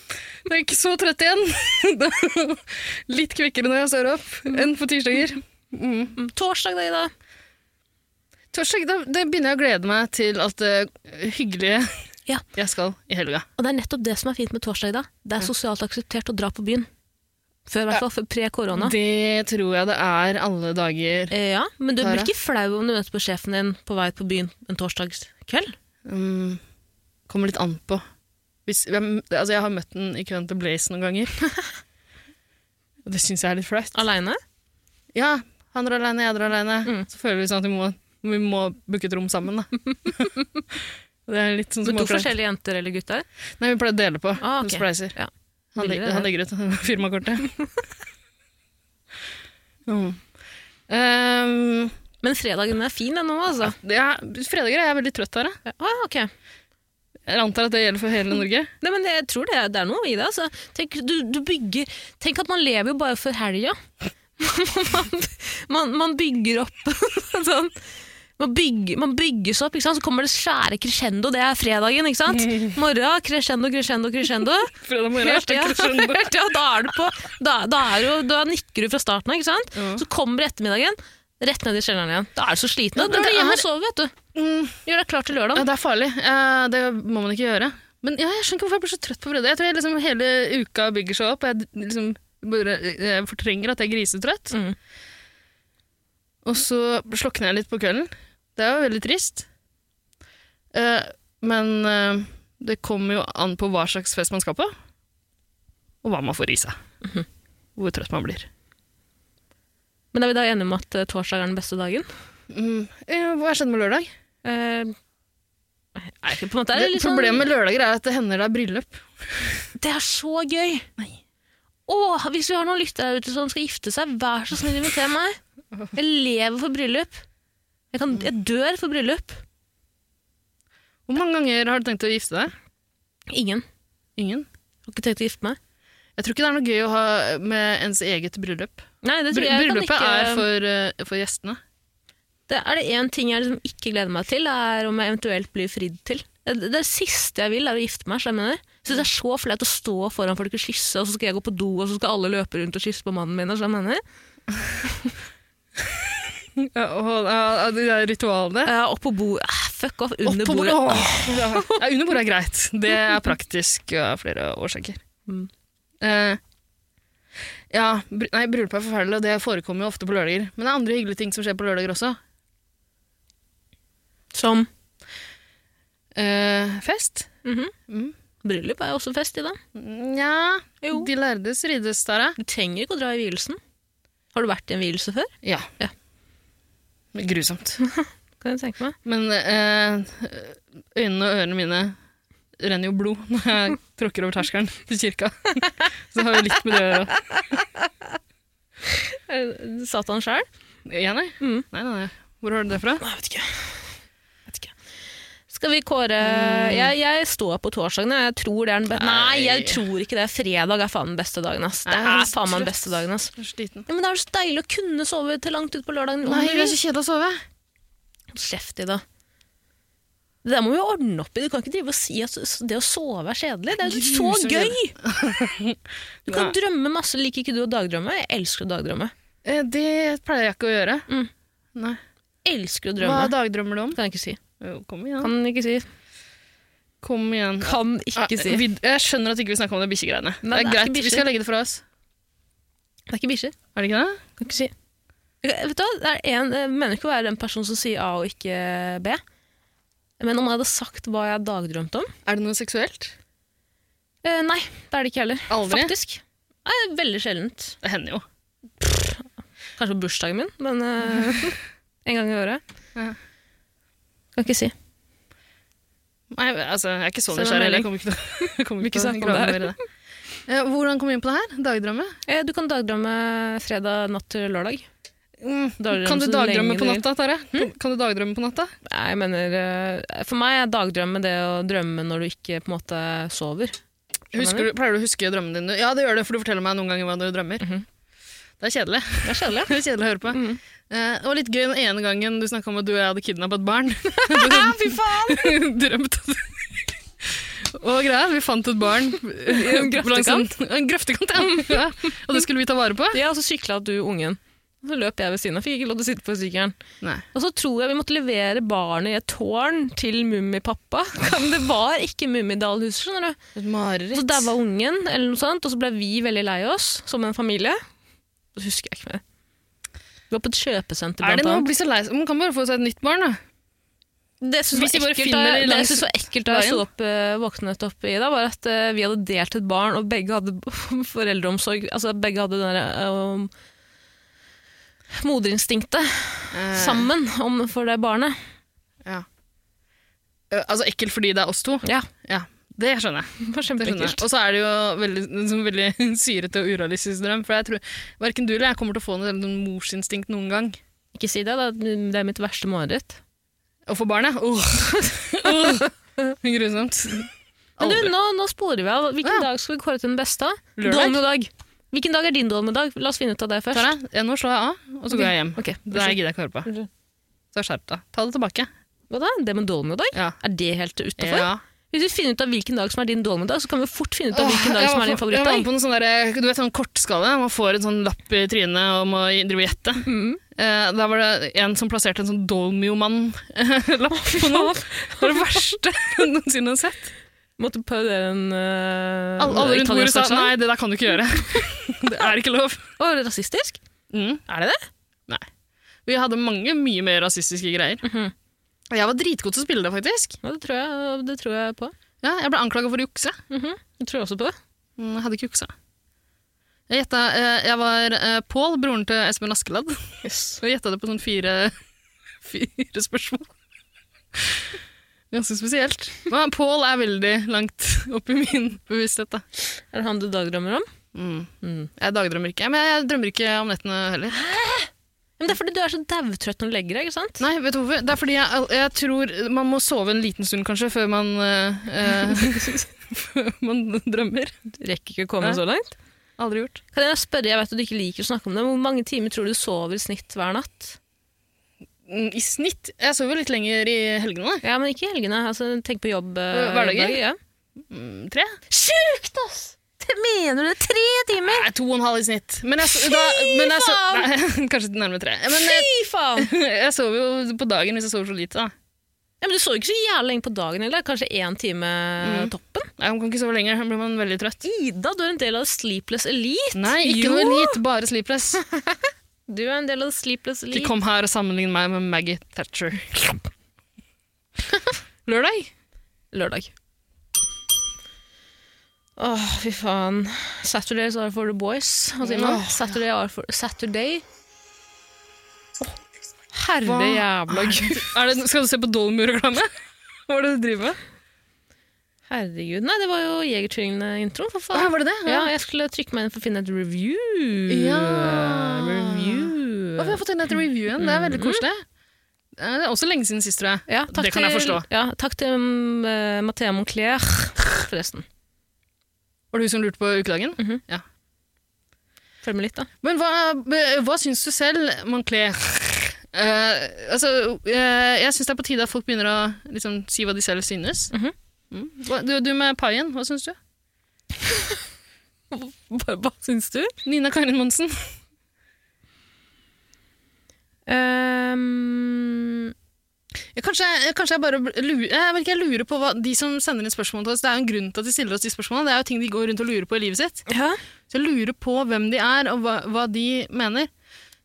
Speaker 3: Jeg er ikke så trøtt igjen. Da- litt kvikkere når jeg står opp enn på tirsdager.
Speaker 2: Mm, Torsdag, da, Ida?
Speaker 3: Torsdag, da, da begynner jeg å glede meg til alt det hyggelige
Speaker 2: Ja.
Speaker 3: jeg skal i helga.
Speaker 2: Og det er nettopp det som er fint med torsdag, Ida. Det er sosialt akseptert å dra på byen. Før, i hvert fall. før Pre-korona.
Speaker 3: Det tror jeg det er alle dager.
Speaker 2: Eh, Ja, men du blir
Speaker 3: Tara?
Speaker 2: ikke flau om du møter på sjefen din på vei på byen en torsdagskveld?
Speaker 3: Mm, kommer litt an på. Hvis, jeg, altså jeg har møtt den i køen til Blaze noen ganger. Og det syns jeg er litt flaut.
Speaker 2: Aleine?
Speaker 3: Ja, han drar aleine, jeg drar aleine.
Speaker 2: Mm.
Speaker 3: Så føler vi sånn at vi må, vi må booke et rom sammen, da. det er litt sånn
Speaker 2: Med to
Speaker 3: småflaut.
Speaker 2: forskjellige jenter eller gutter?
Speaker 3: Nei, vi pleier å dele på.
Speaker 2: Ah, ok.
Speaker 3: Vi Spleiser.
Speaker 2: Ja.
Speaker 3: Han, leg-
Speaker 2: Billigere,
Speaker 3: han legger ut firmakortet. mm. um,
Speaker 2: Men fredagen er fin ennå, altså.
Speaker 3: ja, fredager er jeg veldig trøtt av.
Speaker 2: Ja. Ah, ok.
Speaker 3: Jeg antar at det gjelder for hele Norge.
Speaker 2: Nei, men jeg tror det er, det er noe i det. Altså. Tenk, du, du bygger, tenk at man lever jo bare for helga. man, man, man bygger opp sånn. Man, bygger, man bygges opp, ikke sant? så kommer det svære crescendo. Det er fredagen. ikke sant? Morgen, crescendo, crescendo, crescendo.
Speaker 3: Fredag morgen er
Speaker 2: Helt, ja.
Speaker 3: sterkere søndag.
Speaker 2: Helt, ja, da, er du på, da, da, er du, da nikker du fra starten av. ikke sant?
Speaker 3: Ja.
Speaker 2: Så kommer ettermiddagen, rett ned i kjelleren igjen. Da er du så sliten.
Speaker 3: Ja,
Speaker 2: Da drar
Speaker 3: det
Speaker 2: du hjem
Speaker 3: er-
Speaker 2: og sover. vet du.
Speaker 3: Mm,
Speaker 2: Gjør deg klar til lørdag.
Speaker 3: ja, det er farlig. Eh, det må man ikke gjøre. Men ja, jeg skjønner ikke hvorfor jeg blir så trøtt på fredag. Jeg tror jeg liksom hele uka bygger seg opp, og jeg, liksom, bare, jeg fortrenger at jeg er grisetrøtt.
Speaker 2: Mm.
Speaker 3: Og så slokner jeg litt på kvelden. Det er jo veldig trist. Eh, men eh, det kommer jo an på hva slags fest man skal på, og hva man får i seg. Hvor trøtt man blir.
Speaker 2: Men er vi da enige om at eh, torsdag er den beste dagen?
Speaker 3: Mm. Eh, hva skjedde med lørdag?
Speaker 2: Eh, nei, på en måte er det, litt sånn-
Speaker 3: Problemet med lørdager er at det hender det er bryllup.
Speaker 2: Det er så gøy! Åh, hvis vi har noen lyttere der ute som skal gifte seg, vær så snill inviter meg! Jeg lever for bryllup. Jeg, kan, jeg dør for bryllup.
Speaker 3: Hvor mange ganger har du tenkt å gifte deg?
Speaker 2: Ingen.
Speaker 3: Ingen?
Speaker 2: Jeg har ikke tenkt å gifte meg.
Speaker 3: Jeg tror ikke det er noe gøy å ha med ens eget bryllup.
Speaker 2: Nei, det tror
Speaker 3: Bry-
Speaker 2: jeg, jeg kan
Speaker 3: Bryllupet
Speaker 2: ikke,
Speaker 3: er for, eh, for gjestene.
Speaker 2: det, er det én ting jeg liksom ikke gleder meg til, er om jeg eventuelt blir fridd til. Det, det, siste jeg vil, er å gifte meg. så Jeg mener. Jeg synes det er så flaut å stå foran folk og kysse, og så skal jeg gå på do, og så skal alle løpe rundt og kysse på mannen min. og så jeg mener.
Speaker 3: Ja, og, ja, det der ritualet.
Speaker 2: Eh, opp på bordet. Ah, fuck off, under
Speaker 3: Opp på
Speaker 2: bordet.
Speaker 3: bordet. Åh, ja. Ja, under bordet er greit. Det er praktisk ja, av flere årsaker.
Speaker 2: Mm.
Speaker 3: Eh, ja, bry- nei, bryllup er forferdelig, og det forekommer jo ofte på lørdager. Men det er andre hyggelige ting som skjer på lørdager også.
Speaker 2: Som
Speaker 3: Eh, fest?
Speaker 2: Mhm.
Speaker 3: Mm.
Speaker 2: bryllup er jo også fest i dag.
Speaker 3: Nja,
Speaker 2: Jo.
Speaker 3: de lærdes rides der, ja.
Speaker 2: Du trenger ikke å dra i vielsen. Har du vært i en vielse før?
Speaker 3: Ja.
Speaker 2: Ja.
Speaker 3: Grusomt.
Speaker 2: Kan jeg tenke meg.
Speaker 3: Men eh, øynene og ørene mine renner jo blod når jeg tråkker over terskelen til kirka. Så det har jo litt med det å gjøre.
Speaker 2: Satan sjøl?
Speaker 3: Ja, nei.
Speaker 2: Mm.
Speaker 3: Nei, nei, nei. Hvor har du det fra?
Speaker 2: Nei, jeg vet ikke. Jeg vet ikke. Skal vi kåre jeg, jeg står på torsdagene. Jeg tror det er den beste Nei, jeg tror ikke det. Fredag er faen den beste dagen. Ass. Det
Speaker 3: Nei, jeg er
Speaker 2: er faen meg
Speaker 3: trøtt.
Speaker 2: den beste dagen. Ass.
Speaker 3: Jeg er sliten.
Speaker 2: Ja, men Det er jo så deilig å kunne sove til langt utpå lørdagen. om
Speaker 3: Nei,
Speaker 2: du
Speaker 3: det er
Speaker 2: vil.
Speaker 3: så kjedelig å sove.
Speaker 2: Kjeft i det. Det der må vi jo ordne opp i. Du kan ikke drive og si at det å sove er kjedelig. Det er jo så
Speaker 3: Grusomt
Speaker 2: gøy! Du kan
Speaker 3: Nei.
Speaker 2: drømme masse. Liker ikke du å dagdrømme? Jeg elsker å dagdrømme.
Speaker 3: Eh, det pleier jeg ikke å gjøre.
Speaker 2: Mm.
Speaker 3: Nei.
Speaker 2: Elsker å
Speaker 3: Hva
Speaker 2: drømme.
Speaker 3: dagdrømmer du om?
Speaker 2: Kan jeg ikke si.
Speaker 3: Jo, Kom igjen.
Speaker 2: Kan ikke si.
Speaker 3: Kom igjen.
Speaker 2: Kan
Speaker 3: Ah,
Speaker 2: ikke si.
Speaker 3: vi, jeg skjønner at ikke vi snakker om de bikkjegreiene. Det
Speaker 2: Nei, det
Speaker 3: er
Speaker 2: er ikke
Speaker 3: greit, vi
Speaker 2: bikkjer.
Speaker 3: skal legge det fra oss.
Speaker 2: Det er ikke bikkjer.
Speaker 3: Er det ikke det?
Speaker 2: Kan ikke si. Jeg- Vet du hva, det er en, jeg mener ikke å være den personen som sier A og ikke B. Men om jeg hadde sagt hva jeg dagdrømte om
Speaker 3: Er det noe seksuelt?
Speaker 2: eh, Nei, det er det ikke heller.
Speaker 3: Aldri?
Speaker 2: Faktisk. Nei, veldig sjeldent.
Speaker 3: Det hender jo.
Speaker 2: Kanskje på bursdagen min, men eh, en gang i året.
Speaker 3: Ja.
Speaker 2: Kan ikke si.
Speaker 3: Nei, altså, jeg er ikke så
Speaker 2: Send en
Speaker 3: nysgjerrig.
Speaker 2: melding.
Speaker 3: Jeg kommer ikke til å- jeg kommer
Speaker 2: Ikke
Speaker 3: ikke til å
Speaker 2: snakk om
Speaker 3: grave
Speaker 2: det her.
Speaker 3: mer i det. Eh, Hvordan kom vi inn på det her? Dagdrømme?
Speaker 2: Eh, Du kan dagdrømme fredag natt til lørdag. Dagdrømme
Speaker 3: Mm, Kan du Hm?
Speaker 2: så
Speaker 3: dagdrømme
Speaker 2: lenge
Speaker 3: på
Speaker 2: du vil.
Speaker 3: natta, Tare? Kan du dagdrømme på natta?
Speaker 2: Nei, Jeg mener, eh, For meg er dagdrømme det å drømme når du ikke på en måte sover.
Speaker 3: Husker du, pleier du å huske drømmene dine? Ja, det gjør det, for du forteller meg noen ganger hva du drømmer. Mhm. Det er kjedelig.
Speaker 2: Det er kjedelig.
Speaker 3: Det er kjedelig å høre på. Eh, det var litt gøy den ene gangen du snakka om at du og jeg hadde kidnappa et barn. Fy faen! Drømt at Og greia, vi fant et barn i
Speaker 2: en grøftekant.
Speaker 3: En grøftekant, ja. ja. Og det skulle vi ta vare på?
Speaker 2: Ja, og så sykla du ungen. Og Så løp jeg ved siden av, fikk ikke lov til å sitte på sykkelen.
Speaker 3: Nei.
Speaker 2: Og så tror jeg vi måtte levere barnet i et tårn til Mummipappa. Men Det var ikke Mummidahlhuset, skjønner du.
Speaker 3: Et
Speaker 2: Så
Speaker 3: mareritt.
Speaker 2: daua ungen, eller noe sånt, og så ble vi veldig lei oss som en familie. Det husker jeg ikke mer. Vi var på et kjøpesenter,
Speaker 3: Er det
Speaker 2: blant
Speaker 3: noe å
Speaker 2: annet.
Speaker 3: bli så lei seg Man kan bare få seg et nytt barn, da.
Speaker 2: Det jeg
Speaker 3: Hvis
Speaker 2: synes
Speaker 3: de
Speaker 2: var
Speaker 3: bare
Speaker 2: ekkelt
Speaker 3: finner
Speaker 2: da-
Speaker 3: det
Speaker 2: det jeg
Speaker 3: langs
Speaker 2: synes var ekkelt da jeg
Speaker 3: veien.
Speaker 2: sto opp, eh, våknet opp i dag, var at eh, vi hadde delt et barn, og begge hadde foreldreomsorg. Altså, begge hadde den derre eh, moderinstinktet.
Speaker 3: Eh,
Speaker 2: sammen om, for det barnet.
Speaker 3: Ja. Eh, Altså ekkelt fordi det er oss to?
Speaker 2: Ja,
Speaker 3: Ja. Det skjønner jeg.
Speaker 2: det var
Speaker 3: Det skjønner jeg.
Speaker 2: kjempeekkelt.
Speaker 3: Og så er det jo veldig, en sånn veldig syrete og urealistisk drøm. For jeg tror verken du eller jeg kommer til å få noe sånn morsinstinkt noen gang.
Speaker 2: Ikke si det, da. det er mitt verste mareritt.
Speaker 3: Å få barn, ja. Åh. Åh. Grusomt.
Speaker 2: Men du,
Speaker 3: Aldri.
Speaker 2: nå, nå sporer vi av. Hvilken
Speaker 3: Ja.
Speaker 2: dag skal vi kåre til den beste?
Speaker 3: Lørdag?
Speaker 2: Dolmedag. Hvilken dag er din dolmedag? La oss finne ut av det først.
Speaker 3: Tara, ja, nå slår jeg av, og så går jeg hjem.
Speaker 2: Ok,
Speaker 3: Det her gidder jeg ikke å høre på.
Speaker 2: Unnskyld.
Speaker 3: Så skjerp deg. Ta det tilbake.
Speaker 2: Hva da? Det med dolmedag?
Speaker 3: Ja.
Speaker 2: Er det helt utafor?
Speaker 3: Ja.
Speaker 2: Hvis vi finner ut av hvilken dag som er din dolmedag, så kan vi fort finne ut av hvilken
Speaker 3: Åh,
Speaker 2: dag
Speaker 3: jeg
Speaker 2: som
Speaker 3: var
Speaker 2: er din
Speaker 3: på- Jeg var
Speaker 2: favorittdag.
Speaker 3: på noen sånn der, du vet, sånn kortskala. Man får en sånn lapp i trynet og må drive og gjette.
Speaker 2: Mm.
Speaker 3: Eh, da var det en som plasserte en sånn Dolmio-mann-lapp på noen. Det var det verste jeg noensinne har sett.
Speaker 2: Måtte parodiere en uh,
Speaker 3: Alle, alle rundt bordet sa nei, det der kan du ikke gjøre. det er ikke lov.
Speaker 2: Og rasistisk?
Speaker 3: Mm.
Speaker 2: Er det det?
Speaker 3: Vi hadde mange mye mer rasistiske greier.
Speaker 2: Mhm.
Speaker 3: Og Jeg var dritgod til å spille det, faktisk.
Speaker 2: Ja, det tror jeg, det tror jeg på.
Speaker 3: Ja, jeg ble anklaga for å jukse.
Speaker 2: Mhm. Jeg tror også på det.
Speaker 3: Mm, Jeg hadde ikke juksa. Jeg, gjetta, eh, jeg var eh, Pål, broren til Espen Askeladd, og gjetta det på sånn fire, fire spørsmål. Ganske spesielt. Men Pål er veldig langt opp i min bevissthet. Da.
Speaker 2: Er det han du dagdrømmer om? Mm.
Speaker 3: Jeg dagdrømmer ikke. Men jeg drømmer ikke om nettene heller.
Speaker 2: Men det er fordi du er så dautrøtt når du legger deg, ikke sant?
Speaker 3: Nei, vet du hvorfor? Det er fordi jeg, jeg tror man må sove en liten stund, kanskje, før man, eh, eh, før man drømmer.
Speaker 2: Rekker ikke å komme
Speaker 3: Nei.
Speaker 2: så langt.
Speaker 3: Aldri gjort.
Speaker 2: Kan jeg spørre, jeg vet at du ikke liker å snakke om det, men hvor mange timer tror du du sover i snitt hver natt?
Speaker 3: Mm, I snitt Jeg sover litt lenger i helgene.
Speaker 2: Ja, men ikke i helgene. Altså, tenk på jobb. eh,
Speaker 3: Hverdager?
Speaker 2: jobbdager, Ja.
Speaker 3: da. Mm, tre?
Speaker 2: Sjukt, ass! Mener du det? Tre timer?
Speaker 3: Nei, to og en halv i snitt. Men jeg, so- da, men jeg so Nei, kanskje nærmere tre. Men jeg,
Speaker 2: Fy faen!
Speaker 3: jeg sover jo på dagen hvis jeg sover så lite. Da.
Speaker 2: Ja, men du sover ikke så jævlig lenge på dagen heller. Kanskje én time eh,
Speaker 3: Mm.
Speaker 2: toppen?
Speaker 3: Nei, Man kan ikke sove lenger, da blir man veldig trøtt.
Speaker 2: Ida, du er en del av The Sleepless Elite.
Speaker 3: Nei, ikke
Speaker 2: Jo.
Speaker 3: noe elite, bare sleepless.
Speaker 2: Du er en del av The Sleepless
Speaker 3: Ikke
Speaker 2: Elite.
Speaker 3: kom her og sammenlign meg med Maggie Thatcher. Lørdag?
Speaker 2: Lørdag. Åh, fy faen. Saturdays are for the boys. Hva sier man?
Speaker 3: Åh.
Speaker 2: Saturday are for Saturday. Åh, herre
Speaker 3: Hva
Speaker 2: jævla gud.
Speaker 3: Er det, skal du se på Dolmio-reklame? Hva er det du driver med?
Speaker 2: Herregud. Nei, det var jo Jegertvillingene-introen, for
Speaker 3: Ah,
Speaker 2: faen.
Speaker 3: var det det?
Speaker 2: Ja, jeg skulle trykke meg inn for å finne et review.
Speaker 3: Ja. Å, vi
Speaker 2: Review.
Speaker 3: har fått inn etter reviewen. Det er veldig koselig. Eh, Mm. Det er også lenge siden sist, tror jeg.
Speaker 2: Ja, takk
Speaker 3: det kan jeg
Speaker 2: til-
Speaker 3: forstå.
Speaker 2: Ja, takk til um, eh, Mathea Moncler, forresten.
Speaker 3: Var det hun som lurte på ukedagen?
Speaker 2: Følg med litt, da.
Speaker 3: Men hva, eh, hva syns du selv, Moncler? Eh, altså, eh, jeg syns det er på tide at folk begynner å liksom, si hva de selv synes.
Speaker 2: Mhm.
Speaker 3: Mm. Hva, du, du med paien, hva syns du?
Speaker 2: Hva, hva syns du?
Speaker 3: Nina Karin Monsen.
Speaker 2: Um,
Speaker 3: Ja, Kanskje, kanskje jeg bare lurer, jeg, vet ikke, jeg lurer på hva de som sender inn spørsmål til oss Det er jo en grunn til at de stiller oss de spørsmålene. Det er jo ting de går rundt og lurer på i livet sitt.
Speaker 2: ja.
Speaker 3: Så jeg lurer på hvem de er, og hva, hva de mener.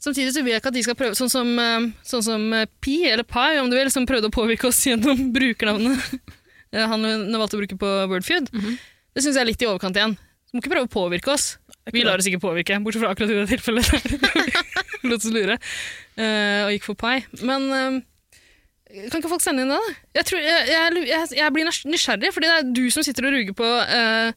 Speaker 3: Samtidig så vil jeg ikke at de skal prøve, sånn som, eh, sånn som eh, Pi, eller Pi om du vil, som prøvde å påvirke oss gjennom brukernavnet eh, han hun valgte å bruke på Wordfeud. Det syns jeg er litt i overkant igjen. Du må ikke prøve å påvirke oss. Vi lar oss ikke påvirke, bortsett fra akkurat i det tilfellet. Lot oss lure, eh, og gikk for Pi. Men eh, kan ikke folk sende inn det, da? Jeg, tror, jeg, jeg, jeg, jeg blir nysgjerrig, fordi det er du som sitter og ruger på eh,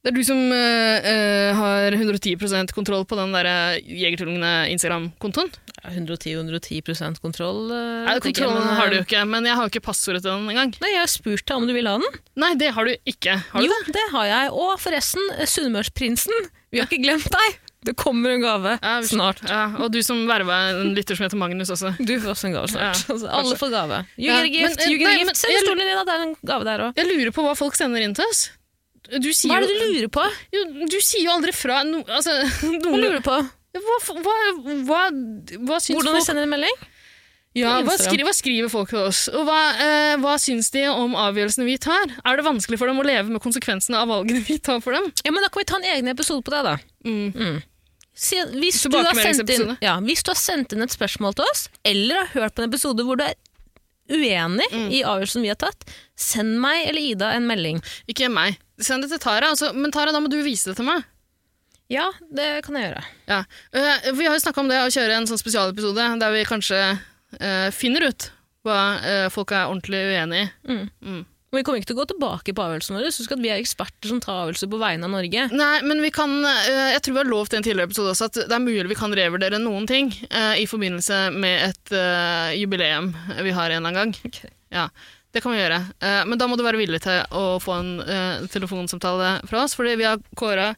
Speaker 3: Det er du som eh, eh, har 110 kontroll på den der Jegertvillingene Instagram-kontoen.
Speaker 2: 110-110 kontroll. eh,
Speaker 3: Nei,
Speaker 2: vet ikke,
Speaker 3: Kontrollen
Speaker 2: men, eh,
Speaker 3: har du jo ikke, men jeg har jo ikke passordet til den engang.
Speaker 2: Nei, jeg har spurt deg om du vil ha den.
Speaker 3: Nei, det har du ikke. Har du
Speaker 2: jo,
Speaker 3: det?
Speaker 2: det? har jeg. Og forresten, eh, Sunnmørsprinsen, vi har ikke glemt deg! Det kommer en gave
Speaker 3: Ja, vi-
Speaker 2: snart.
Speaker 3: Ja, og du som verva en lytter som heter Magnus også.
Speaker 2: Du får også en gave snart.
Speaker 3: Ja,
Speaker 2: altså, alle
Speaker 3: kanskje.
Speaker 2: får gave. You
Speaker 3: Ja,
Speaker 2: get a gift,
Speaker 3: men, eh,
Speaker 2: you get
Speaker 3: nei,
Speaker 2: a
Speaker 3: men
Speaker 2: gift. Se
Speaker 3: jeg-
Speaker 2: stolen din, da, det er en gave der òg.
Speaker 3: Jeg lurer på hva folk sender inn til oss. Du sier,
Speaker 2: Hva er det
Speaker 3: jo-
Speaker 2: du lurer på?
Speaker 3: Jo, du sier jo aldri fra no, altså,
Speaker 2: Hva
Speaker 3: noen,
Speaker 2: lurer du på?
Speaker 3: hva, hva, hva, hva syns
Speaker 2: Hvordan vi
Speaker 3: folk
Speaker 2: sender en melding?
Speaker 3: ja,
Speaker 2: på
Speaker 3: hva,
Speaker 2: Instagram?
Speaker 3: skriver, hva skriver folk til oss? Og hva, eh, hva syns de om avgjørelsene vi tar? Er det vanskelig for dem å leve med konsekvensene av valgene vi tar for dem?
Speaker 2: Ja, men Da kan vi ta en egen episode på det, da.
Speaker 3: Mm.
Speaker 2: Si- Hvis du, har sendt inn,
Speaker 3: Tilbakemeldingsepisode.
Speaker 2: ja, hvis du har sendt inn et spørsmål til oss, eller har hørt på en episode hvor du er uenig
Speaker 3: Mm.
Speaker 2: i avgjørelsen vi har tatt, send meg eller Ida en melding.
Speaker 3: Ikke meg. Send det til Tara. Altså, men Tara, da må du vise det til meg.
Speaker 2: Ja, det kan jeg gjøre.
Speaker 3: Ja. Eh, vi har jo snakka om det å kjøre en sånn spesialepisode der vi kanskje eh, finner ut hva eh, folk er ordentlig uenig i.
Speaker 2: Men vi kommer ikke til å gå tilbake på avgjørelsen vår. Husk at vi er eksperter som tar avgjørelser på vegne av Norge.
Speaker 3: Nei, men vi kan eh, Jeg tror vi har lovt i en tidligere episode også at det er mulig vi kan revurdere noen ting eh, i forbindelse med et eh, jubileum vi har en eller annen gang. Ja, det kan vi gjøre. Eh, Men da må du være villig til å få en eh, telefonsamtale fra oss, fordi vi har kåra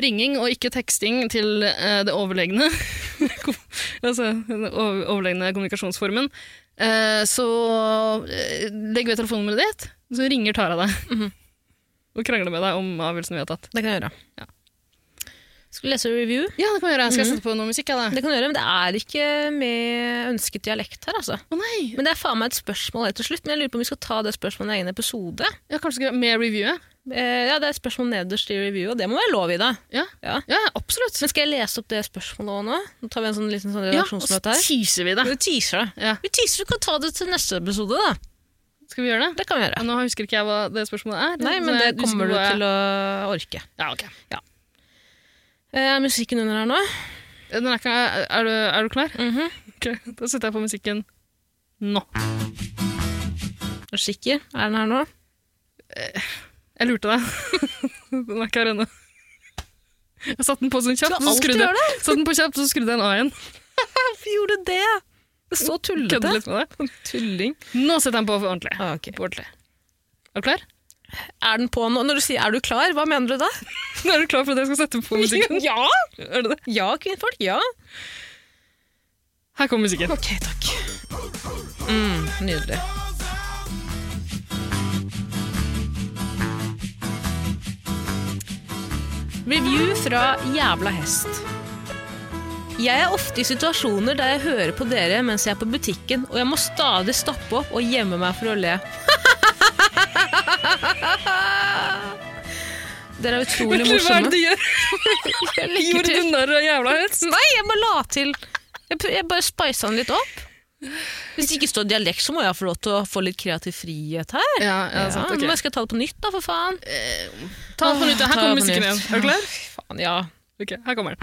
Speaker 3: ringing og ikke teksting til eh, det overlegne. Kom- altså den over- overlegne kommunikasjonsformen. Eh, Så eh, legg ved telefonnummeret ditt, så ringer Tara deg. Og krangler med deg om avgjørelsen vi har tatt.
Speaker 2: Det kan jeg gjøre.
Speaker 3: Ja.
Speaker 2: Skal vi lese review?
Speaker 3: Ja, det kan vi gjøre. Skal jeg sette på noe musikk? jeg, da?
Speaker 2: Det kan jeg gjøre, men det er ikke med ønsket dialekt her, altså.
Speaker 3: Å nei!
Speaker 2: Men det er faen meg et spørsmål helt til slutt, men jeg lurer på om vi skal ta det spørsmålet i en egen episode.
Speaker 3: Ja, kanskje skal jeg- med reviewet?
Speaker 2: Eh, ja, det er et spørsmål nederst i reviewet, og det må være lov i det.
Speaker 3: Ja.
Speaker 2: Ja.
Speaker 3: ja, absolutt.
Speaker 2: Men skal jeg lese opp det spørsmålet òg nå? Nå tar vi en sånn liten sånn
Speaker 3: Ja, og så
Speaker 2: redaksjonsmøte her.
Speaker 3: teaser vi det.
Speaker 2: Vi teaser det.
Speaker 3: Ja.
Speaker 2: Vi teaser, vi kan ta det til neste episode, da.
Speaker 3: Skal vi gjøre det?
Speaker 2: Det kan vi
Speaker 3: Ja,
Speaker 2: gjøre.
Speaker 3: nå husker ikke jeg hva det spørsmålet er.
Speaker 2: Nei, men det liksom kommer du til å orke. Eh,
Speaker 3: Ja, ok.
Speaker 2: Er musikken under her nå?
Speaker 3: Den er, ikke, er, du, er du klar?
Speaker 2: Mhm.
Speaker 3: Ok, Da setter jeg på musikken nå.
Speaker 2: Er du sikker? Er den her nå?
Speaker 3: Jeg lurte deg. den er ikke her ennå. Jeg satte den på sånn kjapt,
Speaker 2: Du
Speaker 3: så
Speaker 2: alltid
Speaker 3: skrudde
Speaker 2: gjør
Speaker 3: jeg, satte den på kjapt, så skrudde jeg den av igjen.
Speaker 2: Hvorfor gjorde du det? Det er så
Speaker 3: Kødde
Speaker 2: tullete.
Speaker 3: litt med det.
Speaker 2: Tulling.
Speaker 3: Nå setter jeg den på for ordentlig.
Speaker 2: Ah, ok.
Speaker 3: På ordentlig. Er du klar?
Speaker 2: Er den på nå? Når du sier 'er du klar', hva mener du da?
Speaker 3: Er du klar for at jeg skal sette på musikken?
Speaker 2: ja!
Speaker 3: Er det det?
Speaker 2: Ja, kvinnfolk. Ja.
Speaker 3: Her kommer musikken.
Speaker 2: Ok, takk. Mm, nydelig. Review fra Jævla hest. Jeg er ofte i situasjoner der jeg hører på dere mens jeg er på butikken, og jeg må stadig stoppe opp og gjemme meg for å le. Dere er utrolig
Speaker 3: Hva er det
Speaker 2: morsomme.
Speaker 3: du gjør?
Speaker 2: Jeg legger
Speaker 3: Gjorde
Speaker 2: til.
Speaker 3: du narr av jævla hest?
Speaker 2: Nei, jeg bare la til. Jeg, pr- jeg bare spisa den litt opp. Hvis det ikke står dialekt, så må jeg få lov til å få litt kreativ frihet her.
Speaker 3: Ja, ja,
Speaker 2: Ja,
Speaker 3: sant, ok. Eh,
Speaker 2: Men jeg skal ta det på nytt, da, for faen.
Speaker 3: Ta den
Speaker 2: Åh,
Speaker 3: på nytt. ja. Her
Speaker 2: ta
Speaker 3: kommer
Speaker 2: den på
Speaker 3: musikken igjen.
Speaker 2: nytt.
Speaker 3: Er du klar?
Speaker 2: Faen, ja.
Speaker 3: Ok, her kommer den.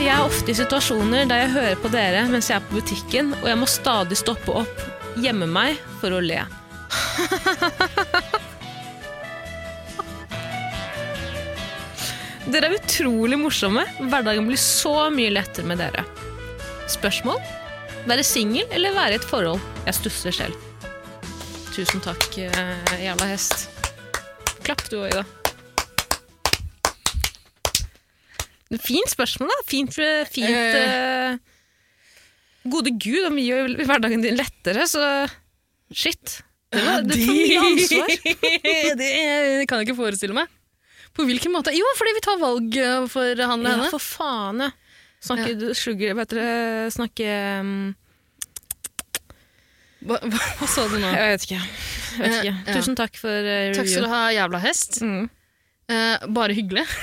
Speaker 2: Jeg er ofte i situasjoner der jeg hører på dere mens jeg er på butikken, og jeg må stadig stoppe opp, gjemme meg, for å le. Dere er utrolig morsomme. Hverdagen blir så mye lettere med dere. Spørsmål? Være singel eller være i et forhold? Jeg stusser selv. Tusen takk, eh, jævla hest. Klapp du òg, Ida. Fint spørsmål, da. Fint, fint
Speaker 3: Eh.
Speaker 2: eh, Gode gud, om vi gjør hverdagen din lettere, så Shit. Det, var, det er for mye ansvar.
Speaker 3: det kan jeg ikke forestille meg. På hvilken måte? Jo, fordi vi tar valg eh, for han eller
Speaker 2: Ja,
Speaker 3: henne.
Speaker 2: for faen, ja. Snakke slugger, vet dere Snakke um,
Speaker 3: Hva, hva, hva sa du nå?
Speaker 2: Jeg vet ikke. Jeg vet ikke.
Speaker 3: Ja.
Speaker 2: Tusen takk for uh,
Speaker 3: Takk skal
Speaker 2: review.
Speaker 3: du ha, jævla hest.
Speaker 2: Mm.
Speaker 3: Eh, bare hyggelig.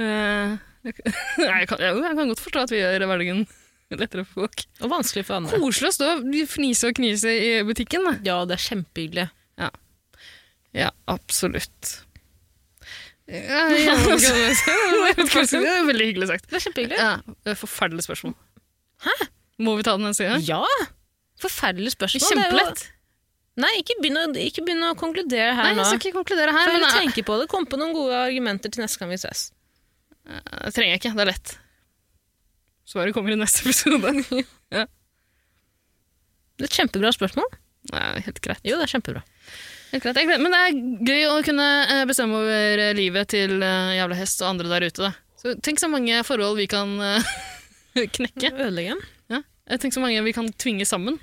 Speaker 3: Eh, jeg kan- Nei, jeg, kan, jeg, jeg kan godt forstå at vi gjør hverdagen lettere for folk.
Speaker 2: Og vanskelig for andre.
Speaker 3: Koselig å stå og fnise og knise i butikken. Da.
Speaker 2: Ja, det er kjempehyggelig.
Speaker 3: Ja, absolutt. Ja, ja, det er veldig hyggelig sagt.
Speaker 2: Det er kjempehyggelig.
Speaker 3: Ja, det er Forferdelig spørsmål. Hæ? Må vi ta den en side?
Speaker 2: Ja! Forferdelig spørsmål. Det er jo-
Speaker 3: Kjempelett.
Speaker 2: Nei, ikke begynn å, ikke begynn å konkludere her
Speaker 3: Nei,
Speaker 2: nå.
Speaker 3: jeg skal ikke konkludere
Speaker 2: Får
Speaker 3: her, men
Speaker 2: heller
Speaker 3: det
Speaker 2: tenke på det. Kom på noen gode argumenter til neste gang vi ses.
Speaker 3: trenger jeg ikke. Det er lett. Svaret kommer i neste episode.
Speaker 2: Det er et kjempebra spørsmål.
Speaker 3: Nei, helt greit.
Speaker 2: Jo, det er kjempebra.
Speaker 3: Helt greit. Jeg gleder- Men det er gøy å kunne eh, bestemme over eh, livet til eh, jævla hest og andre der ute. Da. Så tenk så mange forhold vi kan eh, knekke.
Speaker 2: Ødelegge den.
Speaker 3: Ja. Tenk så mange vi kan tvinge sammen.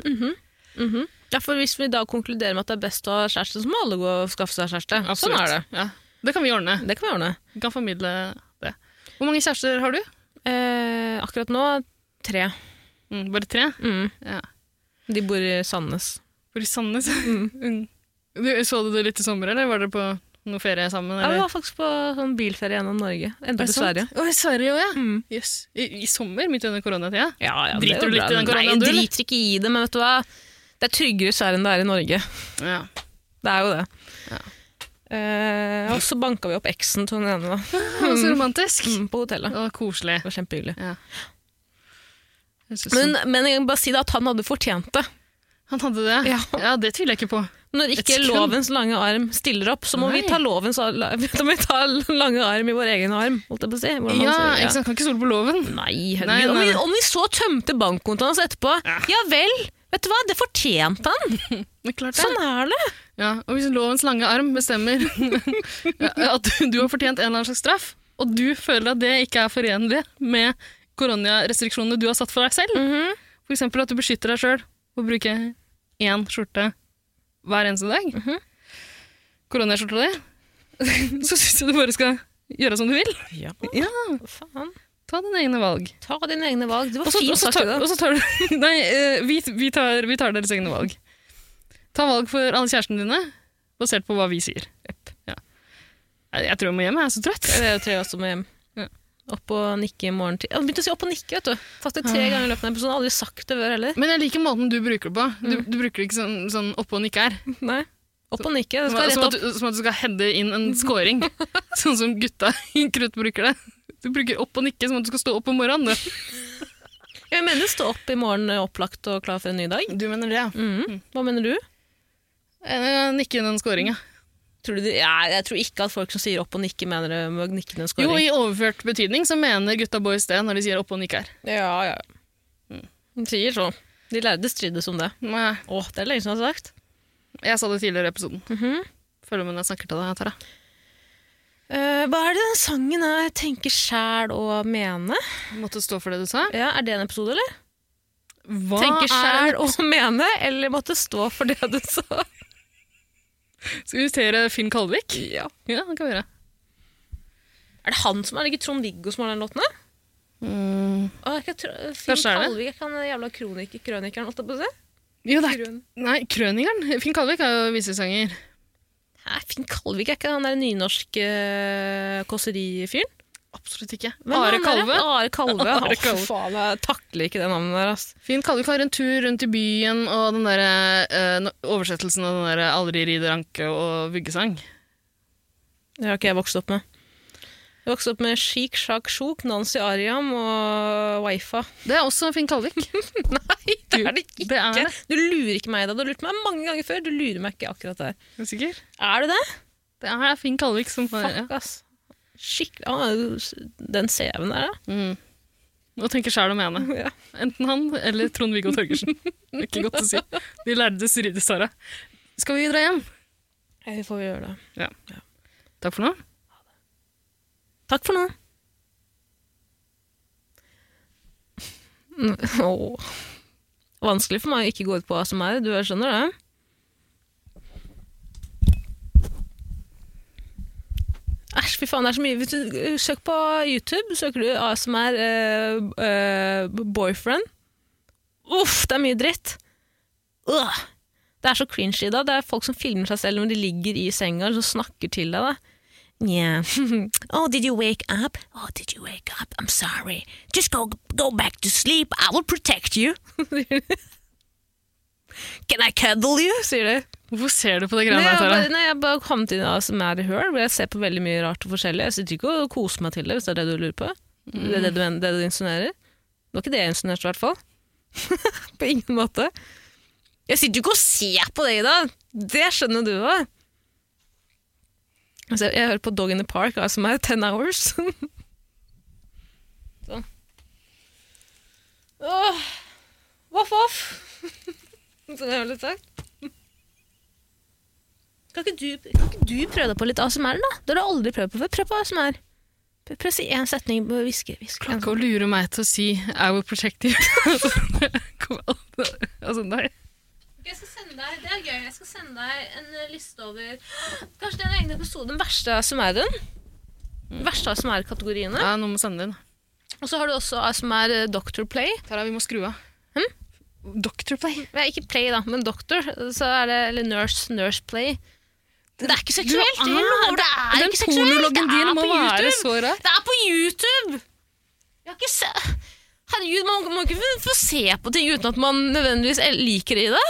Speaker 2: Ja, for hvis vi da konkluderer med at det er best å ha kjæreste, så må alle gå og skaffe seg kjæreste. Sånn er det.
Speaker 3: Absolutt. Ja. Det kan vi ordne.
Speaker 2: Det kan vi ordne.
Speaker 3: Vi kan formidle det. Hvor mange kjærester har du?
Speaker 2: Eh, akkurat nå tre.
Speaker 3: Mm, bare tre?
Speaker 2: Mm.
Speaker 3: Ja.
Speaker 2: De bor i Sandnes.
Speaker 3: Bor i Sandnes. Mm. Du, så du det litt i sommer, eller var dere på noe ferie sammen?
Speaker 2: Ja, vi
Speaker 3: Eller?
Speaker 2: var faktisk på sånn bilferie gjennom Norge. Enda
Speaker 3: Er det
Speaker 2: til
Speaker 3: sant?
Speaker 2: Sverige.
Speaker 3: Å, i Sverige også, ja.
Speaker 2: Mm.
Speaker 3: Yes. I, I sommer, midt under koronatida?
Speaker 2: Ja, ja,
Speaker 3: Driter
Speaker 2: det er jo bra.
Speaker 3: du litt i den koronaen, du,
Speaker 2: Nei,
Speaker 3: eller?
Speaker 2: jeg driter ikke i det, men vet du hva? Det er tryggere i Sverige enn det er i Norge.
Speaker 3: Ja.
Speaker 2: Det er jo det.
Speaker 3: Ja.
Speaker 2: Eh, og så banka vi opp eksen til den ene da,
Speaker 3: Det var så romantisk.
Speaker 2: mm, på hotellet.
Speaker 3: Og koselig.
Speaker 2: Det var kjempehyggelig.
Speaker 3: Jeg synes
Speaker 2: Men, men jeg vil bare si da at han hadde fortjent det.
Speaker 3: Han hadde det?
Speaker 2: Ja.
Speaker 3: det tviler jeg ikke på.
Speaker 2: Når
Speaker 3: Et
Speaker 2: ikke
Speaker 3: sekund.
Speaker 2: lovens lange arm stiller opp, så må vi
Speaker 3: Nei.
Speaker 2: ta lovens al- la- da må vi ta lange arm i vår egen arm. Holdt jeg på å si. hvordan man
Speaker 3: Ja,
Speaker 2: sier det.
Speaker 3: ikke sant? Kan ikke stole på loven.
Speaker 2: Nei, herregud.
Speaker 3: Nei, nei,
Speaker 2: Om, vi,
Speaker 3: nei.
Speaker 2: om vi så tømte bankkontoen hans etterpå, ja. vel, vet du hva, det fortjente han.
Speaker 3: Men klart det.
Speaker 2: Sånn er det.
Speaker 3: Ja, og hvis lovens lange arm bestemmer ja, at du, du har fortjent en eller annen slags straff, og du føler at det ikke er forenlig med koronarestriksjonene du har satt for deg selv,
Speaker 2: Mhm.
Speaker 3: for eksempel at du beskytter deg selv og bruker én skjorte hver eneste dag, koronaskjorta di, så synes jeg du bare skal gjøre som du vil.
Speaker 2: Ja, faen.
Speaker 3: Ta dine egne valg.
Speaker 2: Ta dine egne valg. Det var
Speaker 3: Og så- og
Speaker 2: fint
Speaker 3: så
Speaker 2: sagt.
Speaker 3: tar,
Speaker 2: det.
Speaker 3: og så tar du Nei, eh, vi, vi, tar, vi tar deres egne valg. Ta valg for alle kjærestene dine, basert på hva vi sier. Ja. Jeg, jeg tror jeg må hjem, jeg er så trøtt.
Speaker 2: Det er jo tre år som er hjem.
Speaker 3: Ja.
Speaker 2: Opp og nikke i morgen til Han begynte å si opp og nikke, vet du. Fast det tre ganger i løpet av episoden. Aldri sagt det før heller.
Speaker 3: Men jeg liker måten du bruker det på. Du, du bruker det ikke sånn, sånn oppå og nikke her.
Speaker 2: Nei. Opp og nikke. Det
Speaker 3: Som,
Speaker 2: skal
Speaker 3: at-
Speaker 2: rett
Speaker 3: som,
Speaker 2: opp.
Speaker 3: at, du- som at du skal heade inn en scoring. sånn som gutta i krutt bruker det. Du bruker opp og nikke som at du skal stå opp om morgenen. Du,
Speaker 2: Jeg mener stå opp i morgen eh, opplagt og klar for en ny dag.
Speaker 3: du mener det, ja.
Speaker 2: Mhm. Hva mener du?
Speaker 3: Mm. Eh, Nikke inn en scoring, ja.
Speaker 2: Tror du de, ja, jeg tror ikke at folk som sier opp og nikke, mener det med å nikke til en
Speaker 3: Jo,
Speaker 2: scoring.
Speaker 3: i overført betydning så mener gutta boys det når de sier opp og nikke her.
Speaker 2: Ja, ja. De Mm. sier så. De lærde strides om det.
Speaker 3: Nei.
Speaker 2: Åh, det er lenge siden jeg har sagt.
Speaker 3: Jeg sa det tidligere i episoden.
Speaker 2: Mhm.
Speaker 3: Føler med når jeg snakker til deg, Tara.
Speaker 2: Eh, hva er det den sangen er? Tenke sjæl og mene?
Speaker 3: Måtte stå for det du sa.
Speaker 2: Ja, er det en episode, eller?
Speaker 3: Hva
Speaker 2: Tenke
Speaker 3: er-
Speaker 2: sjæl og mene, eller måtte stå for det du sa?
Speaker 3: Skal vi invitere Finn Kalvik?
Speaker 2: Ja.
Speaker 3: Ja, det kan vi gjøre.
Speaker 2: Er det han som er det ikke Trond-Viggo som har den låten? da? Åh, jeg kan tro- Finn
Speaker 3: Kanskje er det.
Speaker 2: Kalvik er ikke han jævla kroniker, krønikeren, holdt jeg på å si?
Speaker 3: Jo, det er
Speaker 2: Krøn-
Speaker 3: Nei, Krøningeren. Finn Kalvik er jo visesanger.
Speaker 2: Hæ, Finn Kalvik er ikke han der nynorske uh, kåserifyren?
Speaker 3: Absolutt ikke.
Speaker 2: Hvem er
Speaker 3: Are
Speaker 2: han der?
Speaker 3: Kalve.
Speaker 2: Are Kalve.
Speaker 3: Are
Speaker 2: Åh,
Speaker 3: Kalve.
Speaker 2: faen, jeg takler ikke det navnet der, ass.
Speaker 3: Finn Kalvik har en tur rundt i byen, og den der, eh, no- oversettelsen av den der 'Aldri rider anke' og vuggesang.
Speaker 2: Det har ikke jeg vokst opp med. Jeg vokste opp med Sheik Shak Shuk, Nancy Ariam og Waifa.
Speaker 3: Det er også Finn Kalvik.
Speaker 2: Nei, det er det ikke!
Speaker 3: Det er det.
Speaker 2: Du lurer ikke meg da. Du har lurt meg mange ganger før. Du lurer meg ikke akkurat der.
Speaker 3: Er du sikker?
Speaker 2: Er du det?
Speaker 3: Det er Finn Kalvik som får ja.
Speaker 2: Fuck, ass. Skikkelig. Han er jo- Den CV-en der, da.
Speaker 3: mm. Og tenker sjæl om ene.
Speaker 2: Ja.
Speaker 3: Enten han eller Trond-Viggo Torgersen. Det er Ikke godt å si. De lærde strides, Sara. Skal vi dra hjem?
Speaker 2: Vi får gjøre det.
Speaker 3: Takk for nå.
Speaker 2: Takk for nå. Mm, Åh. Vanskelig for meg å ikke gå ut på ASMR, du skjønner det? Æsj, fy faen, det er så mye. Hvis du, eh, Søk på YouTube, søker du ASMR eh, eh, boyfriend. Uff, det er mye dritt. Øh. Det er så cringe i dag. Det er folk som filmer seg selv når de ligger i senga og snakker til deg. da. Yeah. oh, did you wake up? Oh, did you wake up? I'm sorry. Just go go back to sleep. I will protect you. Can I cuddle you? sier de.
Speaker 3: Hvorfor ser du på det
Speaker 2: Nei,
Speaker 3: greia der,
Speaker 2: jeg
Speaker 3: Tara?
Speaker 2: bare, nei, jeg bare kom til en som er i høl, hvor jeg ser på veldig mye rart og forskjellig. Jeg sitter ikke og koser meg til det, hvis det er det du lurer på. Det er det du, det du insinuerer. Det var ikke det jeg insinuerte, i hvert fall. på ingen måte. Jeg sitter jo ikke og ser på det, Ida! Det skjønner du òg. Altså, jeg hører på Dog in the Park, som er Ten Hours. sånn. Åh, voff, voff! Som jeg har litt sagt. Kan ikke, du, kan ikke du prøve deg på litt ASMR, da? Det har du aldri prøvd på før. Prøv på ASMR. Prøv prøv å si én setning. Bare Hviske. hviske.
Speaker 3: Klokka lurer meg til å si I will protect you. Kom, altså, nei.
Speaker 2: Jeg skal sende deg, Det er gøy. Jeg skal sende deg en eh, liste over Kanskje det er en egen episode. Den verste ASMR-en. Den verste ASMR-kategoriene.
Speaker 3: Ja, noen må sende det inn.
Speaker 2: Og så har du også ASMR eh, Doctor Play.
Speaker 3: Tara, vi må skru av.
Speaker 2: Hm?
Speaker 3: Doctor Play.
Speaker 2: Nei, ikke Play, da, men Doctor. Så er det, eller Nurse, Nurse Play. Det er ikke seksuelt!
Speaker 3: Du
Speaker 2: Det
Speaker 3: er-
Speaker 2: er, Ah, det er
Speaker 3: Den
Speaker 2: ikke seksuelt! Det
Speaker 3: pornologen din
Speaker 2: er
Speaker 3: må
Speaker 2: på
Speaker 3: være
Speaker 2: YouTube!
Speaker 3: så rar.
Speaker 2: Det er på YouTube! Jeg har ikke se... Herregud, man må ikke få se på ting uten at man nødvendigvis el- liker i det.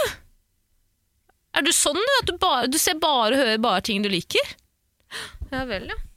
Speaker 2: Er du sånn, du? At du, bare, du ser bare og hører bare ting du liker? Ja vel, ja.